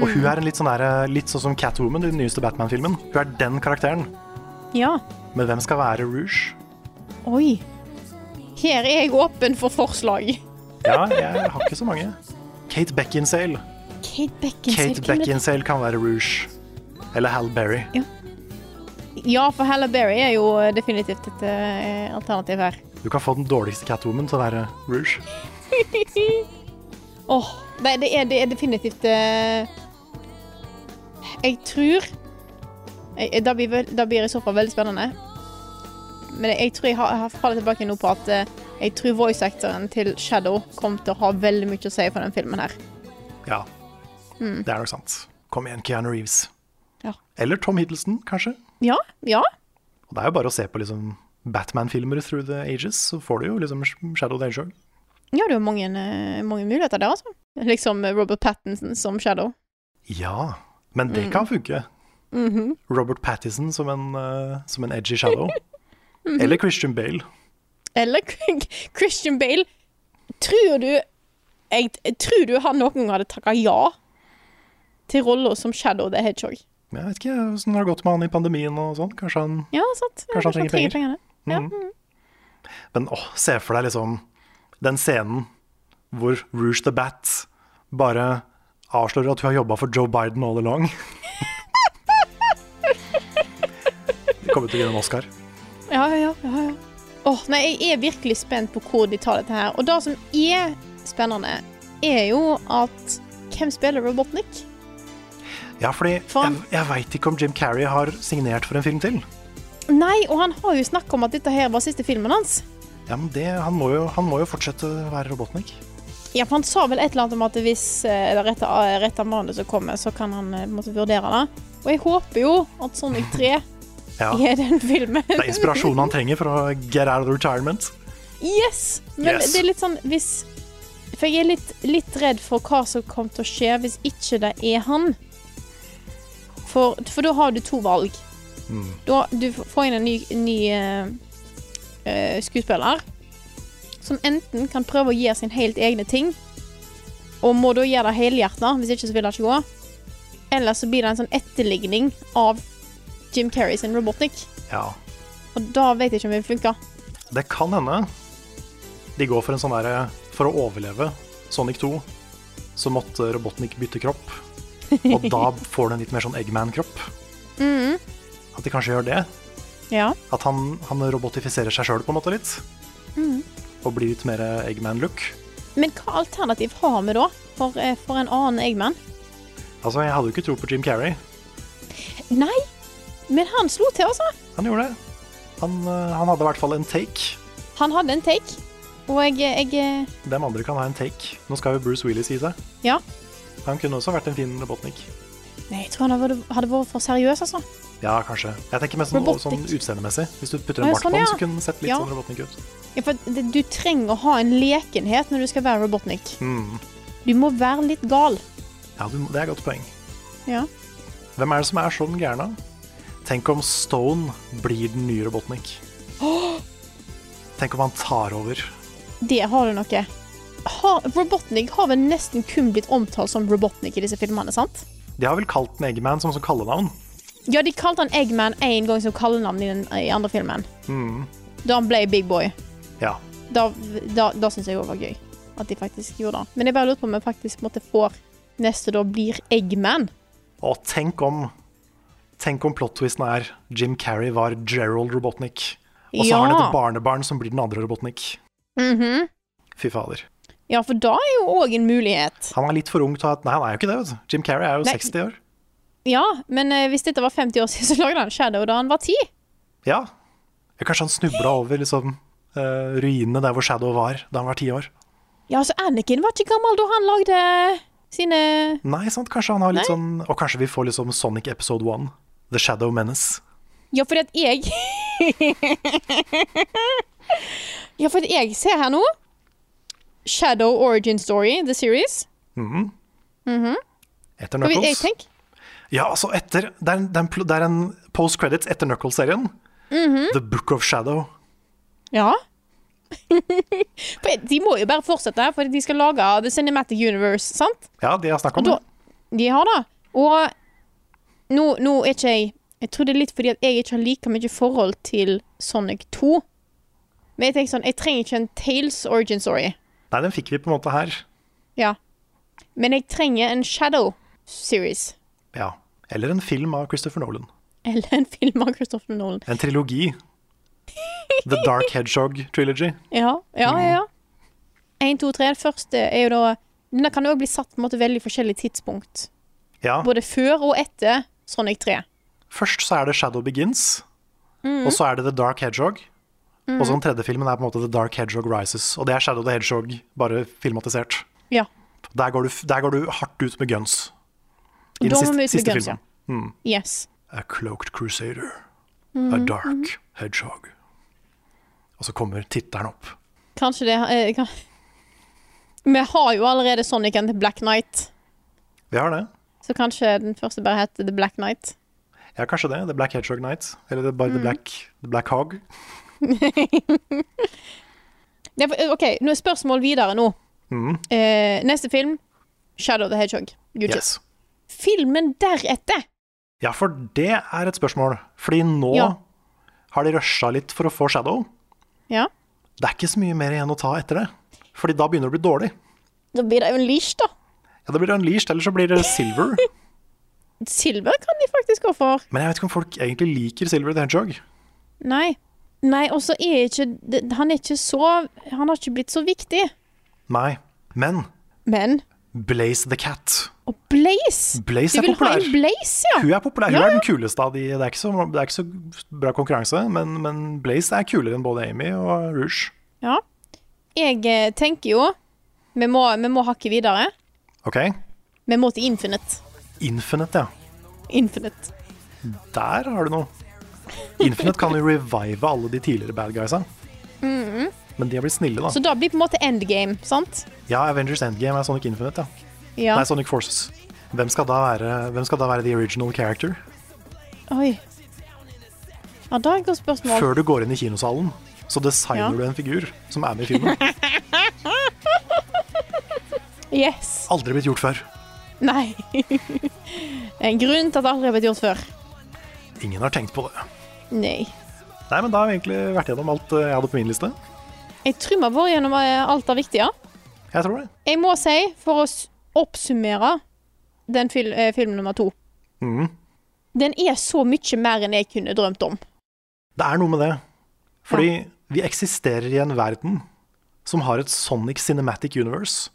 Og hun er en litt sånn der, eh, litt sånn som Catwoman i den nyeste Batman-filmen. Hun er den karakteren.
Ja.
Men hvem skal være Rouge?
Oi. Her er jeg åpen for forslag.
Ja, jeg har ikke så mange. Kate Beckinsale.
Kate Beckinsale.
Kate
hvem er det?
Beckinsale kan være Rouge. Eller Hal Berry.
Ja, for Halle Berry er jo definitivt et eh, alternativ her.
Du kan få den dårligste Catwoman til å være Rouge.
Åh, nei, det er, det er definitivt eh, Jeg tror jeg, da, blir, vel- da blir det i så fall veldig spennende. Men jeg tror jeg har, jeg har fallet tilbake nå på at eh, jeg tror voice-actoren til Shadow kommer til å ha veldig mye å si for den filmen her.
Ja, det er nok sant. Kom igjen, Keanu Reeves.
Ja.
Eller Tom Hiddleston, kanskje.
Ja, ja.
Og det er jo bare å se på liksom Batman-filmer through the ages, så får du jo liksom Shadow the Hedgehog.
Ja, det er jo mange, eh, mange muligheter der, altså. Liksom eh, Robert Pattinson som Shadow.
Ja, men det kan funke.
Mhm.
Robert Pattison som en, eh, som en edgy shadow. Eller Christian Bale.
Eller Christian Bale. Tror du jeg, jeg tror du han noen gang hadde takka ja til rolla som Shadow the Hedgehog?
Jeg vet ikke hvordan det har gått med han i pandemien og sånn. Kanskje han
Ja, sant.
Kanskje han trenger penger.
pengene.
Mm. Men åh, se for deg liksom den scenen hvor Rouge the Bat bare avslører at hun har jobba for Joe Biden all along. *laughs* Det kommer til å gi en Oscar.
Ja, ja, ja. ja. Åh, nei, jeg er virkelig spent på hvor de tar dette her. Og det som er spennende, er jo at hvem spiller Robotnik?
Ja, fordi jeg,
Faen.
jeg veit ikke om Jim Carrey har signert for en film til.
Nei, og han har jo snakk om at dette her var siste filmen hans.
Ja, men det, han, må jo, han må jo fortsette å være Robotnik.
Ja, for han sa vel et eller annet om at hvis eh, det rette, rette manuset kommer, så kan han eh, på en måte vurdere det. Og jeg håper jo at Sonic 3
Ja, det
er den filmen.
er inspirasjonen han trenger for å get out of retirement.
Yes! Men
Yes.
det er litt sånn hvis For jeg er litt, litt redd for hva som kommer til å skje hvis ikke det er han. For, for da har du to valg. Da, du f- får inn en ny, ny eh, eh, skuespiller som enten kan prøve å gjøre sin helt egne ting, og må da gjøre det helhjertet, hvis ikke så vil det ikke gå. Eller så blir det en sånn etterligning av Jim Carrey sin Robotnik.
Ja,
Og da vet jeg ikke om det funker.
Det kan hende de går for en sånn derre For å overleve Sonic 2, så måtte Robotnik bytte kropp. Og da får du en litt mer sånn Eggman-kropp.
Mhm.
At de kanskje gjør det.
Ja.
At han, han robotifiserer seg sjøl på en måte litt.
Mhm.
Og blir litt mer Eggman-look.
Men hva alternativ har vi da for, eh, for en annen Eggman?
Altså, jeg hadde jo ikke tro på Jim Carrey.
Nei, men han slo til, altså.
Han gjorde det. Han, eh, han hadde i hvert fall en take.
Han hadde en take, og jeg, eh, jeg
De andre kan ha en take. Nå skal jo Bruce Willis i seg.
Ja.
Han kunne også vært en fin robotnik.
Nei, jeg tror han hadde, hadde vært for seriøs, altså.
Ja, kanskje. Jeg tenker mest sånn,
Robotnik.
sånn utseendemessig. Hvis du putter
Ja,
en bart
sånn,
på den,
ja.
så kunne den sett litt
Ja.
sånn robotnik ut.
Ja, for det, du trenger å ha en lekenhet når du skal være Robotnik.
Mm.
Du må være litt gal.
Ja, du, det er et godt poeng.
Ja.
Hvem er det som er sånn gærna? Tenk om Stone blir den nye robotnik. Tenk om han tar over.
Det har du noe. Har, Robotnik har vel nesten kun blitt omtalt som Robotnik i disse filmene, sant?
De har vel kalt den Eggman som, som kallenavn.
Ja, de kalte han Eggman én gang som kallenavn i den i andre filmen.
Mm.
Da han ble Big Boy.
Ja.
Da, da, da syns jeg òg var gøy at de faktisk gjorde det. Men jeg bare lurer på om jeg faktisk måtte får neste da blir Eggman.
Og tenk om Tenk om plot-twisten er Jim Carrey var Gerald Robotnik. Og så har han et barnebarn som blir den andre Robotnik.
Mhm.
Fy fader.
Ja, for da er jo òg en mulighet.
Han er litt for ung til å ha Nei, han er jo ikke det. vet du. Jim Carrey er jo
Nei.
60 år.
Ja, men eh, hvis dette var 50 år siden, så lagde han Shadow da han var 10.
Ja. Ja, Kanskje han snubla over liksom, eh, ruinene der hvor Shadow var da han var ti år.
Ja, så Anakin var ikke gammel da han lagde sine
Nei, sant? Kanskje han har litt sånn Og kanskje vi får liksom Sonic Episode 1. The Shadow Menace.
Ja, fordi at jeg *laughs* Ja, fordi at jeg ser her nå Shadow Origin Story, the series.
Mhm.
Mhm.
Etter
Og vi- Jeg
Knuckles.
tenker
Ja, altså etter Det er en, det er en, pl- det er en post credits etter Knuckles-serien.
Mhm.
The Book of Shadow.
Ja. *laughs* For de må jo bare fortsette, for de skal lage The Cinematic Universe, sant?
Ja, de har snakka om
Og da,
det.
de har det. Og nå, nå er ikke jeg Jeg tror det er litt fordi at jeg ikke har like mye forhold til Sonic 2. Men jeg tenker sånn, jeg trenger ikke en Tales origin story.
Nei, den fikk vi på en måte her.
Ja. Men jeg trenger en Shadow series. *laughs*
Ja. Eller en film av Christopher Nolan.
Eller en film av Christopher Nolan.
En trilogi. The Dark Hedgehog Trilogy.
Ja, ja, ja. ja. Én, to, tre. Den første er jo da Denne kan jo også bli satt på en måte veldig forskjellig tidspunkt.
Ja.
Både før og etter Sonic 3.
Først så er det Shadow Begins,
Mm.
og så er det The Dark Hedgehog. Og så den tredje filmen er på en måte The Dark Hedgehog Rises. Og det er Shadow the Hedgehog, bare filmatisert.
Ja.
Der går du, f- der går du hardt ut med guns. I
Da
den
må vi
siste,
ut med
siste
guns,
filmen. Mm.
Yes.
A Cloaked Crusader. A
Mm,
Dark Hedgehog. Og så kommer tittelen opp.
Kanskje det eh, kan... Vi har jo allerede Sonic and the Black Knight,
Vi har det.
så kanskje den første bare heter The Black Knight.
Ja, kanskje det. The Black Hedgehog Night. Eller det er
Mm.
bare The, Black, the Black Hog.
Det, er for- eh, OK, nå er spørsmål videre nå.
Mm.
Eh, neste film, Shadow the Hedgehog. Gucci.
Yes.
Filmen deretter!
Ja, for det er et spørsmål. Fordi nå
Ja.
har de rusha litt for å få Shadow.
Ja.
Det er ikke så mye mer igjen å ta etter det. Fordi da begynner det å bli dårlig.
Da blir det jo en leash, da.
Ja, det blir Unleashed, eller så blir det
*laughs*
Silver.
Silver kan de faktisk gå for.
Men jeg vet ikke om folk egentlig liker Silver the Hedgehog.
Nei. Nei, og så er ikke det- Han er ikke så Han har ikke blitt så viktig.
Nei. Men
Men
Blaze the Cat.
Og Blaze!
Blaze
Du
er
vil ha
populær.
en Blaze, ja!
Hun er populær. Hun
Ja,
er den kuleste av de. Det er ikke så, det er ikke så bra konkurranse, men, men Blaze er kulere enn både Amy og Rouge.
ja. Jeg eh, tenker jo vi må, vi må hakke videre.
OK?
Vi må til Infinite.
Infinite, ja.
Infinite.
Der har du noe. Infinite kan jo revive alle de tidligere bad guysa. Men de har blitt snille, da.
Mm-hmm. Så da blir på en måte endgame, sant?
Ja, Avengers Endgame er Sonic Infinite, ja.
Ja.
Nei, Sonic Forces. Hvem skal da være, hvem skal da være the original character?
Oi. Ja, da er det et godt spørsmål.
Før du går inn i kinosalen, så
Ja.
designer du en figur som er med i filmen.
*laughs* Yes. *laughs*
Aldri blitt gjort før.
Nei. *laughs* en grunn til at det aldri har blitt gjort før.
Ingen har tenkt på det.
Nei.
Nei, men Da har vi egentlig vært gjennom alt eh, jeg hadde på min liste.
Jeg tror vi har vært gjennom eh, alt det viktige.
Jeg tror det.
Jeg må si, for å s- oppsummere den fil eh, film nummer to
Mhm.
Den er så mye mer enn jeg kunne drømt om.
Det er noe med det. Fordi vi eksisterer i en verden som har et Sonic Cinematic Universe.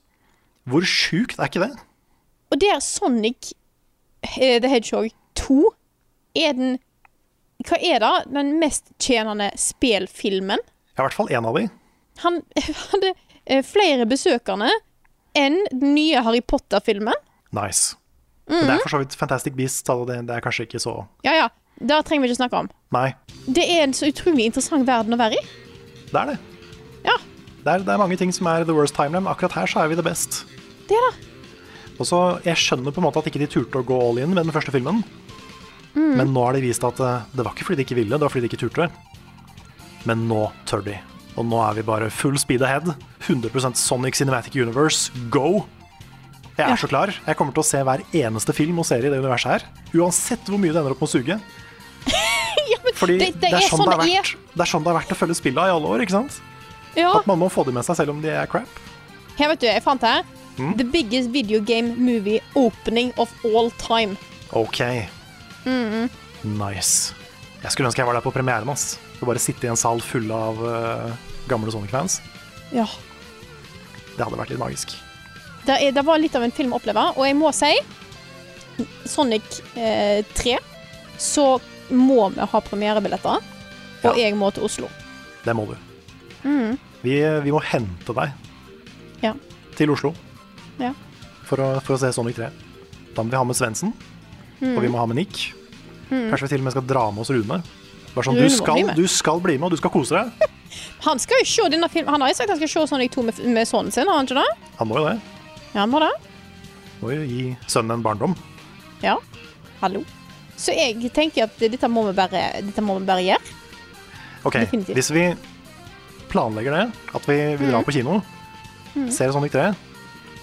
Hvor sjukt er ikke det?
Og der Sonic eh, The Hedgehog 2 er den Hva er det? Den mest tjenende spelfilmen.
Ja, i hvert fall én av de.
Han *laughs* hadde eh, flere besøkende enn den nye Harry Potter-filmen.
Nice. Men
Mm.
det er for så vidt Fantastic Beast, så det, det er kanskje ikke så
Ja, ja, det trenger vi ikke snakke om.
Nei,
Det er en så utrolig interessant verden å være i.
det er det.
Ja,
Det er, det er mange ting som er the worst timeline, men akkurat her så er vi det best.
det *laughs* da.
Og så, Jeg skjønner på en måte at ikke de turte å gå all in med den første filmen. Men nå har de vist at eh, det var ikke fordi de ikke ville, det var fordi de ikke turte. Men nå tør de. Og nå er vi bare full speed ahead. 100 Sonic Cinematic Universe, go! Jeg er så klar. Jeg kommer til å se hver eneste film og serie i det universet her. Uansett hvor mye det ender opp med å suge. Fordi det, er sånn det, har vært, det er sånn det har vært å følge spillene i alle år. ikke sant?
Ja,
At man må få de med seg selv om de er crap.
her vet du, jeg fant her.
Mm.
The biggest video game movie opening of all time.
Ok.
Mm-hmm.
Nice. Jeg skulle ønske jeg var der på premieren. ass. Og bare sitte i en sal full av eh, gamle Sonic-fans.
Ja.
Det hadde vært litt magisk.
Det, er, det var litt av en film å oppleve, og jeg må si Sonic eh, 3, så må vi ha premierebilletter, og
Ja.
jeg må til Oslo.
Det må du. Vi, vi må hente deg
Mm-hmm. Ja.
til Oslo
Ja.
for å, for å se Sonic 3. Da må vi ha med Svendsen, og
Mm-hmm.
vi må ha med Nick. Kanskje vi til og med skal dra med oss Rune. Bare sånn,
Rune må
du,
bli
skal,
med.
du skal bli med, og du skal kose deg.
Han skal jo se denne filmen. Han har jo sagt han skal se Sonic 2 med, med sønnen sin, har han ikke det?
Han må jo det.
Ja, han må det.
Må jo gi sønnen en barndom.
Ja. Hallo. Så jeg tenker at dette må vi bare, dette må vi bare gjøre.
Ok,
Definitivt. Mm.
hvis vi planlegger det, at vi, vi drar på kino, ser Sonic 3,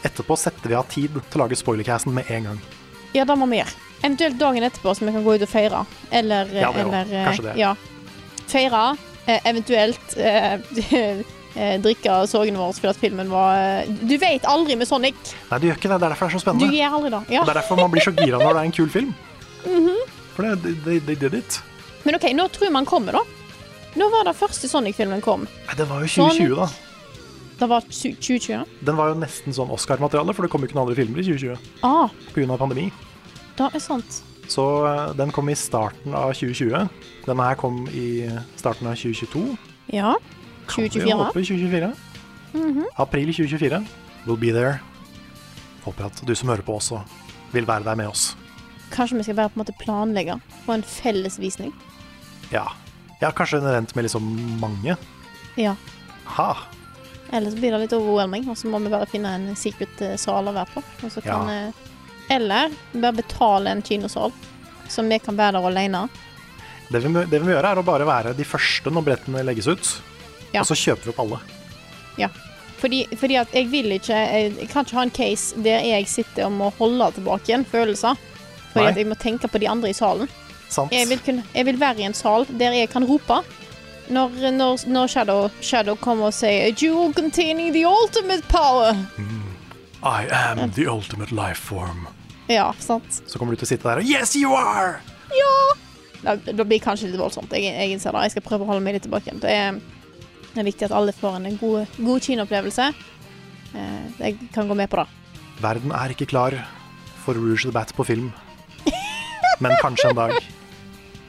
etterpå setter vi av tid til å lage spoilercasten med en gang.
Ja, det må vi gjøre. Eventuelt dagen etterpå, så vi kan gå ut og feire. Eller,
Ja, det er jo-
eller eh,
kanskje det.
Ja. Feire, eh, eventuelt eh, *laughs* eh, drikke av sorgen vår fordi at filmen var eh, Du vet aldri med Sonic.
Nei, du gjør ikke det. Det er derfor det er så
Du
spennende.
gjør aldri det. Ja.
Det er derfor man blir så gira når det er en kul film.
Mhm.
For det, they, they- they did it.
Men OK, nå tror jeg man kommer, da. Nå var det første Sonic-filmen kom.
Nei, det var jo
Sånn.
2020, da.
Det var 2020.
Den var jo nesten sånn Oscar-materiale, for det kom jo ikke noen andre filmer i 2020
Ah,
pga. pandemi.
det er sant.
Så eh, den kom i starten av 2020. Denne her kom i starten av 2022.
Ja.
Vi er
2024.
oppe i 2024. April 2024. We'll be there. Håper at du som hører på også vil være der med oss.
Kanskje vi skal bare på en måte planlegge på en felles visning.
Ja. Ja, kanskje en event med liksom mange.
Ja.
Ha!
Ellers blir det litt overwhelming, og så må vi bare finne en secret eh, sal å være på. Og så kan,
Ja.
eh, Eller bare betale en kinosal, så vi kan være der alene.
Det vi, må- det vi må gjøre, er å bare være de første når billettene legges ut.
Ja.
Og så kjøper vi opp alle.
Ja. Fordi, fordi at jeg vil ikke jeg, jeg kan ikke ha en case der jeg sitter og må holde tilbake igjen følelser. Fordi
Nei.
at jeg må tenke på de andre i salen.
Sant?
Jeg vil, kunne, jeg vil være i en sal der jeg kan rope. Når, når, når Shadow, Shadow kommer og sier You will containing the ultimate power.
I am the ultimate life form.
Ja, sant.
Så kommer du til å sitte der og Yes, you are!
Ja! Da, da blir det kanskje litt voldsomt. Jeg, jeg innser det. Jeg skal prøve å holde meg litt tilbake. Det er, det er viktig at alle får en god, god kinoopplevelse. Eh, jeg kan gå med på det.
Verden er ikke klar for Rouge the Bat på film. Men kanskje en dag.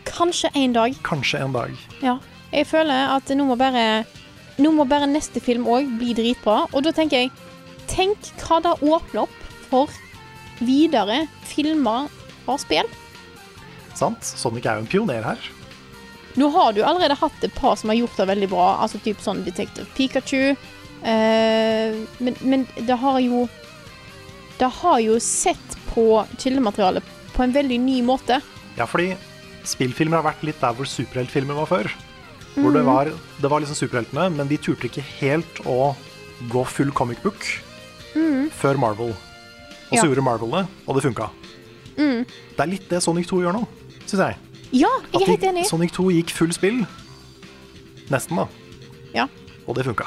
Kanskje en dag.
Kanskje en dag.
Ja. Jeg føler at nå må bare, nå må bare neste film òg bli dritbra. Og da tenker jeg Tenk hva det åpner opp for videre filmer og spill.
Sant? Sonic er jo en pioner her.
Nå har du allerede hatt et par som har gjort det veldig bra, altså typ sånn Detective Pikachu. Eh, men, men det har jo Det har jo sett på kildematerialet på en veldig ny måte.
Ja, fordi spillfilmer har vært litt der hvor superheltfilmer var før. Hvor det var, det var liksom superheltene, men de turte ikke helt å gå full comic book før Marvel. Og så
Mm. Ja.
gjorde Marvel det, og det funka. Det er litt det Sonic 2 gjør nå, syns jeg.
Ja, jeg
At
er helt
de-
enig.
Sonic 2 gikk full spill, nesten, da.
Ja.
Og det funka.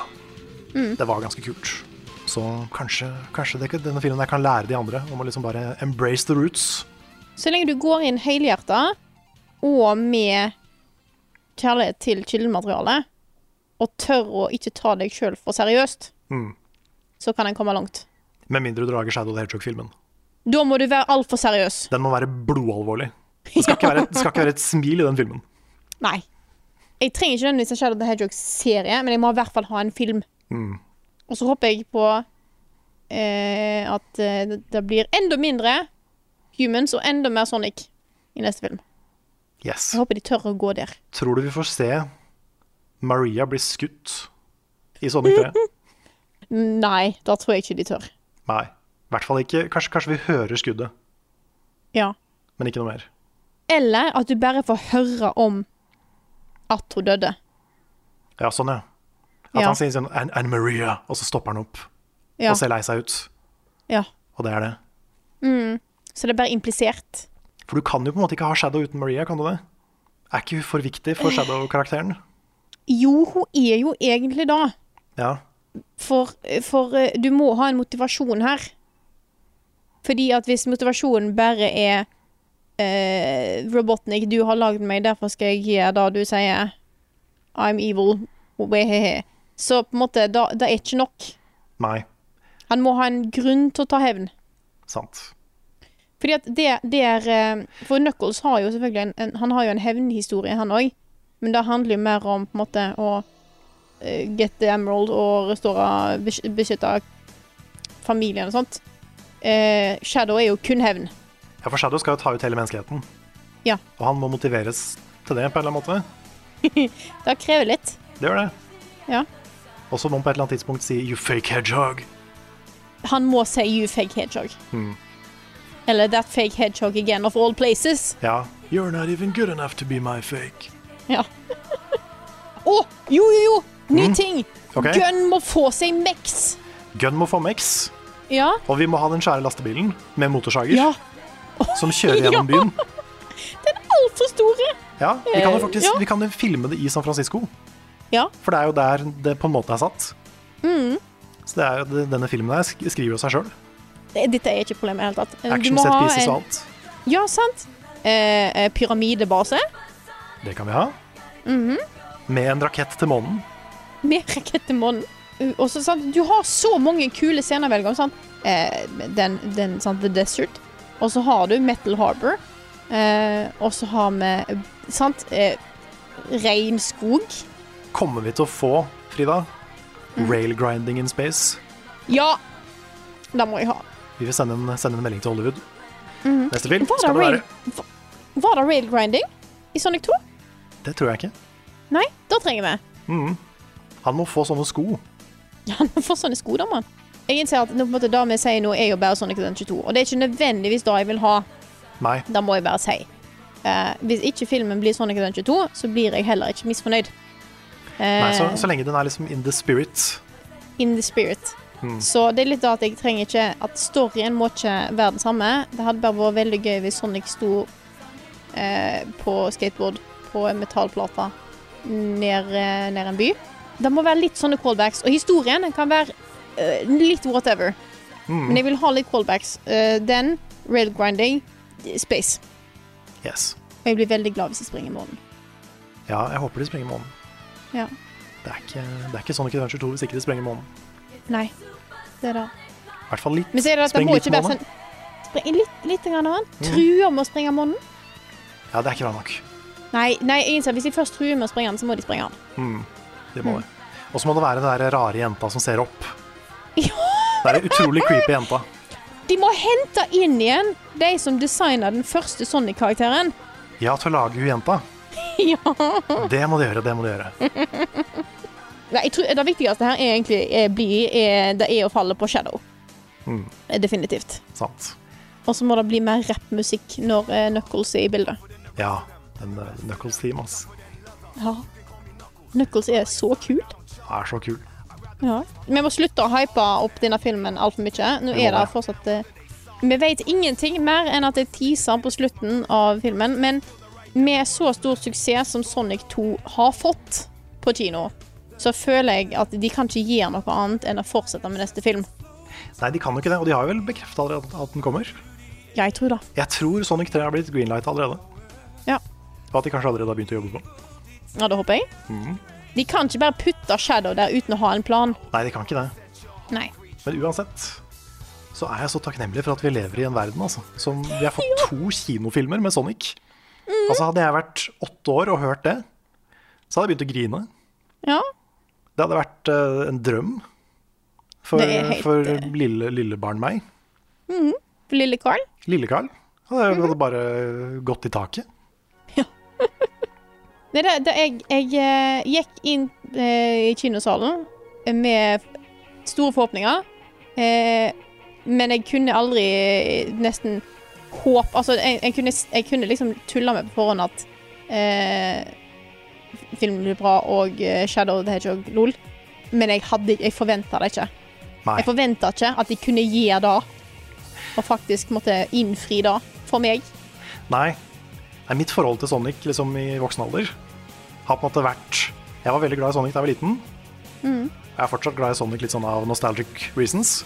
Mm.
Det var ganske kult. Så kanskje, kanskje det, denne filmen her kan lære de andre om å liksom bare embrace the roots.
Så lenge du går inn helhjerta og med kjærlighet til kildematerialet, og tør å ikke ta deg sjøl for seriøst,
Mm.
så kan en komme langt.
Med mindre du lager Shadow the Hedgehog-filmen.
Da må du være altfor seriøs.
Den må være blodalvorlig. Det skal, ikke være, det skal ikke være et smil i den filmen.
Nei. Jeg trenger ikke nødvendigvis en Shadow the Hedgehog-serie, men jeg må i hvert fall ha en film.
Mm.
Og så håper jeg på eh, at eh, det- det blir enda mindre Humans og enda mer Sonic i neste film.
Yes.
Jeg håper de tør å gå der.
Tror du vi får se Maria bli skutt i Sonic
*laughs*
3?
Nei, da tror jeg ikke de tør.
Nei. I hvert fall ikke. Kanskje, kanskje vi hører skuddet,
Ja.
men ikke noe mer.
Eller at du bare får høre om at hun døde.
Ja, sånn, ja. At
Ja.
han sier sånn Anne Anne Maria, og så stopper han opp
Ja.
og ser lei seg ut.
ja.
Og det er det.
Så det er bare implisert.
For du kan jo på en måte ikke ha Shadow uten Maria, kan du det? Er ikke hun for viktig for Shadow-karakteren?
Jo, hun er jo egentlig da.
Ja.
For, for eh, du må ha en motivasjon her. Fordi at hvis motivasjonen bare er eh, Robotnik, du har lagd meg, derfor skal jeg gjøre det du sier. I'm evil. Wehehe. Så på en måte, da, det er ikke nok.
Nei.
Han må ha en grunn til å ta hevn.
Sant.
Fordi at det, det er eh, For Knuckles har jo selvfølgelig en, en Han har jo en hevnhistorie, han òg. Men det handler jo mer om på en måte å eh, get the emerald og restaure besky- Beskytte familien og sånt. Eh, Shadow er jo kun hevn.
Ja, for Shadow skal jo ta ut hele menneskeheten.
Ja.
Og han må motiveres til det på en eller annen måte.
Det krever litt.
Det gjør det.
Ja.
Og så må han på et eller annet tidspunkt si 'you fake hedgehog'.
Han må si 'you fake hedgehog'.
Mm.
Eller 'that fake hedgehog again of all places'.
Ja. 'You're not even good enough to be my fake'.
Ja. *laughs* Å! jo, jo, jo! Ny ting!
Ok.
Gun må få seg Mex.
Gun må få Mex,
Ja.
og vi må ha den svære lastebilen med motorsager
ja.
som kjører
*laughs*
gjennom byen.
Den er altfor store.
Ja, Vi kan jo faktisk
Eh, Ja.
vi kan jo filme det i San Francisco,
Ja. Mm.
for det er jo der det på en måte er satt. Så det er, jo- det- denne filmen her sk- skriver jo seg sjøl.
Det- Dette er ikke et problem i det hele tatt. Eh, Du
Action
Eh, må
set
ha
pieces
en-
og alt.
Ja, sant. Eh, eh, pyramidebase
Det kan vi ha.
Mm-hmm.
Med en rakett til månen.
med rakett til månen. Uh, og så, sant, Du har så mange kule scener å velge om. Sant? Eh, den, den sant, The Desert. Og så har du Metal Harbor. Eh, og så har vi sant, eh, regnskog.
Kommer vi til å få, Frida,
Mm.
rail grinding in space?
Ja! Det må jeg ha.
Vi vil sende en, sende en melding til Hollywood. Neste film
Var
skal
Mm. det,
det være
rail, va- var det rail grinding i Sonic 2?
Det tror jeg ikke.
Nei, da trenger vi.
Han må få sånne sko.
Han får sånne sko, da, mann. Jeg innser at nå, på en måte, det vi sier nå, er jo bare Sonic den 22. Og det er ikke nødvendigvis det jeg vil ha.
Nei,
Det må jeg bare si. Eh, hvis ikke filmen blir Sonic den 22, så blir jeg heller ikke misfornøyd. Eh,
Nei så, så lenge den er liksom in the spirit.
In the spirit.
Hmm.
Så det er litt da at jeg trenger ikke At storyen må ikke være den samme. Det hadde bare vært veldig gøy hvis Sonic sto eh, på skateboard på en metallplate ned, eh, ned en by. Det må være litt sånne callbacks. Og historien kan være eh, litt whatever.
Mm.
Men jeg vil ha litt callbacks. Eh, den, rail grinding, space.
Yes.
Og jeg blir veldig glad hvis jeg springer i morgen.
Ja, jeg håper de sprenger månen.
Ja.
Det er ikke, det er ikke sånn Sonic Adventure 2 hvis ikke de sprenger månen.
Nei. Det er det.
I hvert fall litt.
Men så er det at det
Spreng
må
litt
ikke være
månen.
sånn Spring litt, litt grann annen. True om å springe månen.
Ja, det er ikke bra nok.
Nei, nei jeg innser, at hvis de først truer med å sprenge den, så må de sprenge den.
Det
Mm.
må det. Og så må det være den der rare jenta som ser opp.
Ja!
Det er en utrolig creepy jenta.
De må hente inn igjen de som designa den første Sonic-karakteren. *laughs*
Ja, til å lage hun jenta.
ja. Mm.
Det må de gjøre, det må de gjøre.
Nei, jeg tror, det viktigste her er egentlig er, bli, er, det er å falle på Shadow.
Mm.
Eh, Definitivt.
Sant.
Og så må det bli mer rappmusikk når eh, Knuckles er i bildet.
Ja, en eh, Knuckles Team, ass.
Ja. Knuckles er så kul.
Er så kul.
Ja. Vi må slutte å hype opp denne filmen altfor mye. Nå
Vi må
er det
det.
fortsatt eh, Vi vet ingenting mer enn at det teaser på slutten av filmen, men med så stor suksess som Sonic 2 har fått på kino, så føler jeg at de kan ikke gjøre noe annet enn å fortsette med neste film.
Nei, de kan jo ikke det, og de har jo vel bekrefta allerede at den kommer.
Jeg tror det.
Jeg tror Sonic 3 har blitt greenlight allerede.
Ja.
Og at de kanskje allerede har begynt å jobbe på den.
Ja, det håper jeg. De kan ikke bare putte Shadow der uten å ha en plan.
Nei, de kan ikke det.
Nei.
Men uansett så er jeg så takknemlig for at vi lever i en verden altså, som Vi har fått to kinofilmer med Sonic.
Mm.
Altså Hadde jeg vært åtte år og hørt det, så hadde jeg begynt å grine.
Ja.
Det hadde vært eh, en drøm for,
Det er helt,
for
eh,
lille, lillebarn meg.
Lille Carl.
Lille-Carl hadde,
Mhm.
hadde bare gått i taket.
Nei, det, det, jeg, jeg eh, gikk inn eh, i kinosalen med store forhåpninger, eh, men jeg kunne aldri eh, nesten håp... Altså, jeg, jeg, kunne, s- jeg kunne liksom tulla med på forhånd at eh, f- filmen blir bra og eh, Shadow the Hedgehog lol, men jeg, hadde- jeg forventa det ikke.
Nei.
Jeg forventa ikke at de kunne gi det, og faktisk måtte innfri det for meg.
Nei. Nei, mitt forhold til Sonic liksom, i voksen alder har på en måte vært Jeg var veldig glad i Sonic da jeg var liten. Jeg er fortsatt glad i Sonic litt sånn av nostalgic reasons.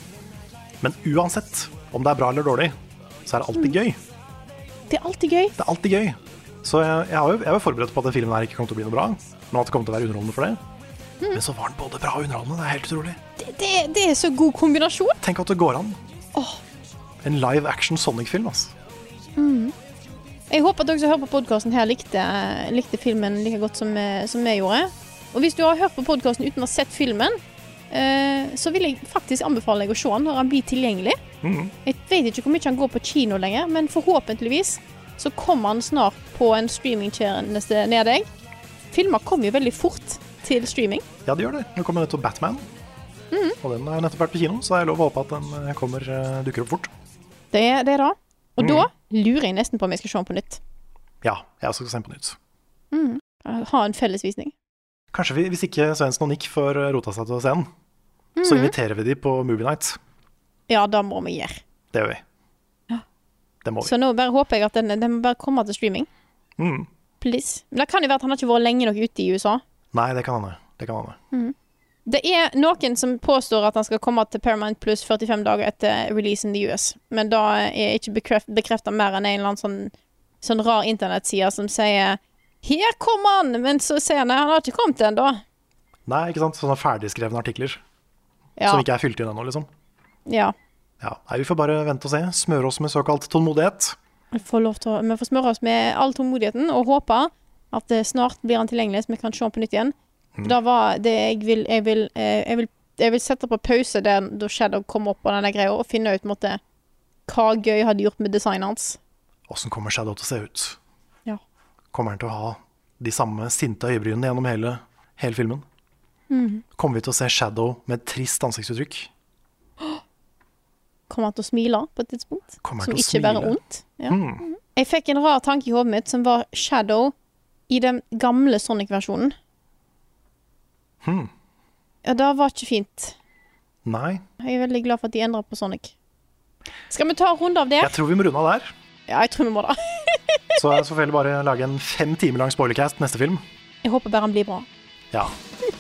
Men uansett om det er bra eller dårlig, så er det alltid gøy.
Det er alltid gøy.
Det er alltid gøy. Så jeg, jeg, har jo, jeg var forberedt på at den filmen her ikke kom til å bli noe bra, men at det kom til å være underholdende for det. Men så var den både bra og underholdende. Det er helt utrolig.
Det, det, det er så god kombinasjon.
Tenk at det går an. En live action Sonic-film, altså.
Jeg håper at dere som hører på podkasten her, likte, likte filmen like godt som, eh, som jeg gjorde. Og hvis du har hørt på podkasten uten å ha sett filmen, eh, så vil jeg faktisk anbefale deg å se den når den blir tilgjengelig. Jeg vet ikke hvor mye han går på kino lenger, men forhåpentligvis så kommer han snart på en streamingtjeneste nær deg. Filmer kommer jo veldig fort til streaming.
Ja, det gjør det. Nå kommer nettopp Batman.
Mhm.
Og den har nettopp vært på kino, så det er lov å håpe at den eh, kommer, eh, dukker opp fort.
Det er det, er da. Og da lurer jeg nesten på om jeg skal se den på nytt.
Ja, jeg også skal se den på nytt.
Ha en fellesvisning.
Kanskje vi, hvis ikke Svendsen og Nick får eh, rota seg til scenen,
Mhm.
så inviterer vi de på Movie Night.
Ja, det må vi gjøre.
Det gjør vi. Det må vi.
Så nå bare håper jeg at den, den må bare kommer til streaming.
Mm.
Please. Men det kan jo være at han har ikke vært lenge nok ute i USA.
Nei, det kan hende. Det kan hende.
Det er noen som påstår at han skal komme til Paramount Plus 45 dager etter release in the US, men da er ikke bekrefta mer enn en eller annen sånn, sånn rar internettside som sier 'Her kom han!' Men så sier han nei, han har ikke kommet ennå.
Nei, ikke sant? Sånne ferdigskrevne artikler
Ja.
som ikke er fylt inn ennå, liksom.
ja.
Ja, Nei, vi får bare vente og se. Smøre oss med såkalt tålmodighet.
Vi får, lov til å, vi får smøre oss med all tålmodigheten og håpe at det snart blir han tilgjengelig, så vi kan se han på nytt igjen.
Mm.
Da var det jeg vil Jeg vil, eh, jeg vil, jeg vil sette på pause der da Shadow kom opp på denne greia, og finne ut på en måte, hva gøy hadde gjort med designet hans.
Åssen kommer Shadow til å se ut?
Ja.
Kommer han til å ha de samme sinte øyebrynene gjennom hele, hele filmen? Kommer vi til å se Shadow med et trist ansiktsuttrykk?
Kommer han til å smile på et tidspunkt?
Kommer
Som
han til å
ikke bare er
smile? Mm.
ondt. Ja. Mhm. Jeg fikk en rar tanke i hodet mitt som var Shadow i den gamle Sonic-versjonen.
Hmm.
Ja, det var ikke fint.
Nei.
Jeg er veldig glad for at de endra på Sonic. Skal vi ta en runde av det?
Jeg tror vi må runde av der.
Ja, jeg tror vi må det.
Så jeg får vel bare lage en fem timer lang spoilercast neste film.
Jeg håper bare han blir bra.
Ja,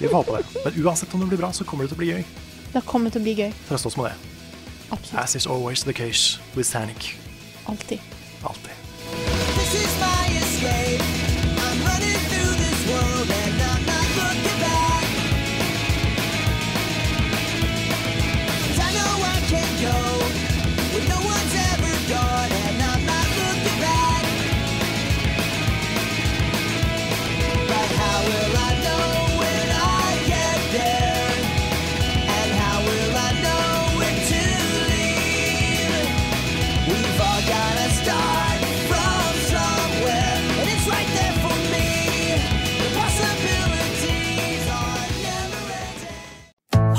vi får håpe det. Men uansett om det blir bra, så kommer det til å bli gøy.
Det kommer til å bli gøy.
Trøst oss med det.
Absolutt.
As is always the case with Sanic.
Alltid.
Alltid.
This is my escape. I'm running through this world and I'm not looking back. 'Cause I know I can go where no one's ever gone and I'm not looking back. But how will I know when I get there? And how will I know when to leave? We've all gotta start from somewhere, and it's right there for me. The possibilities are never ending.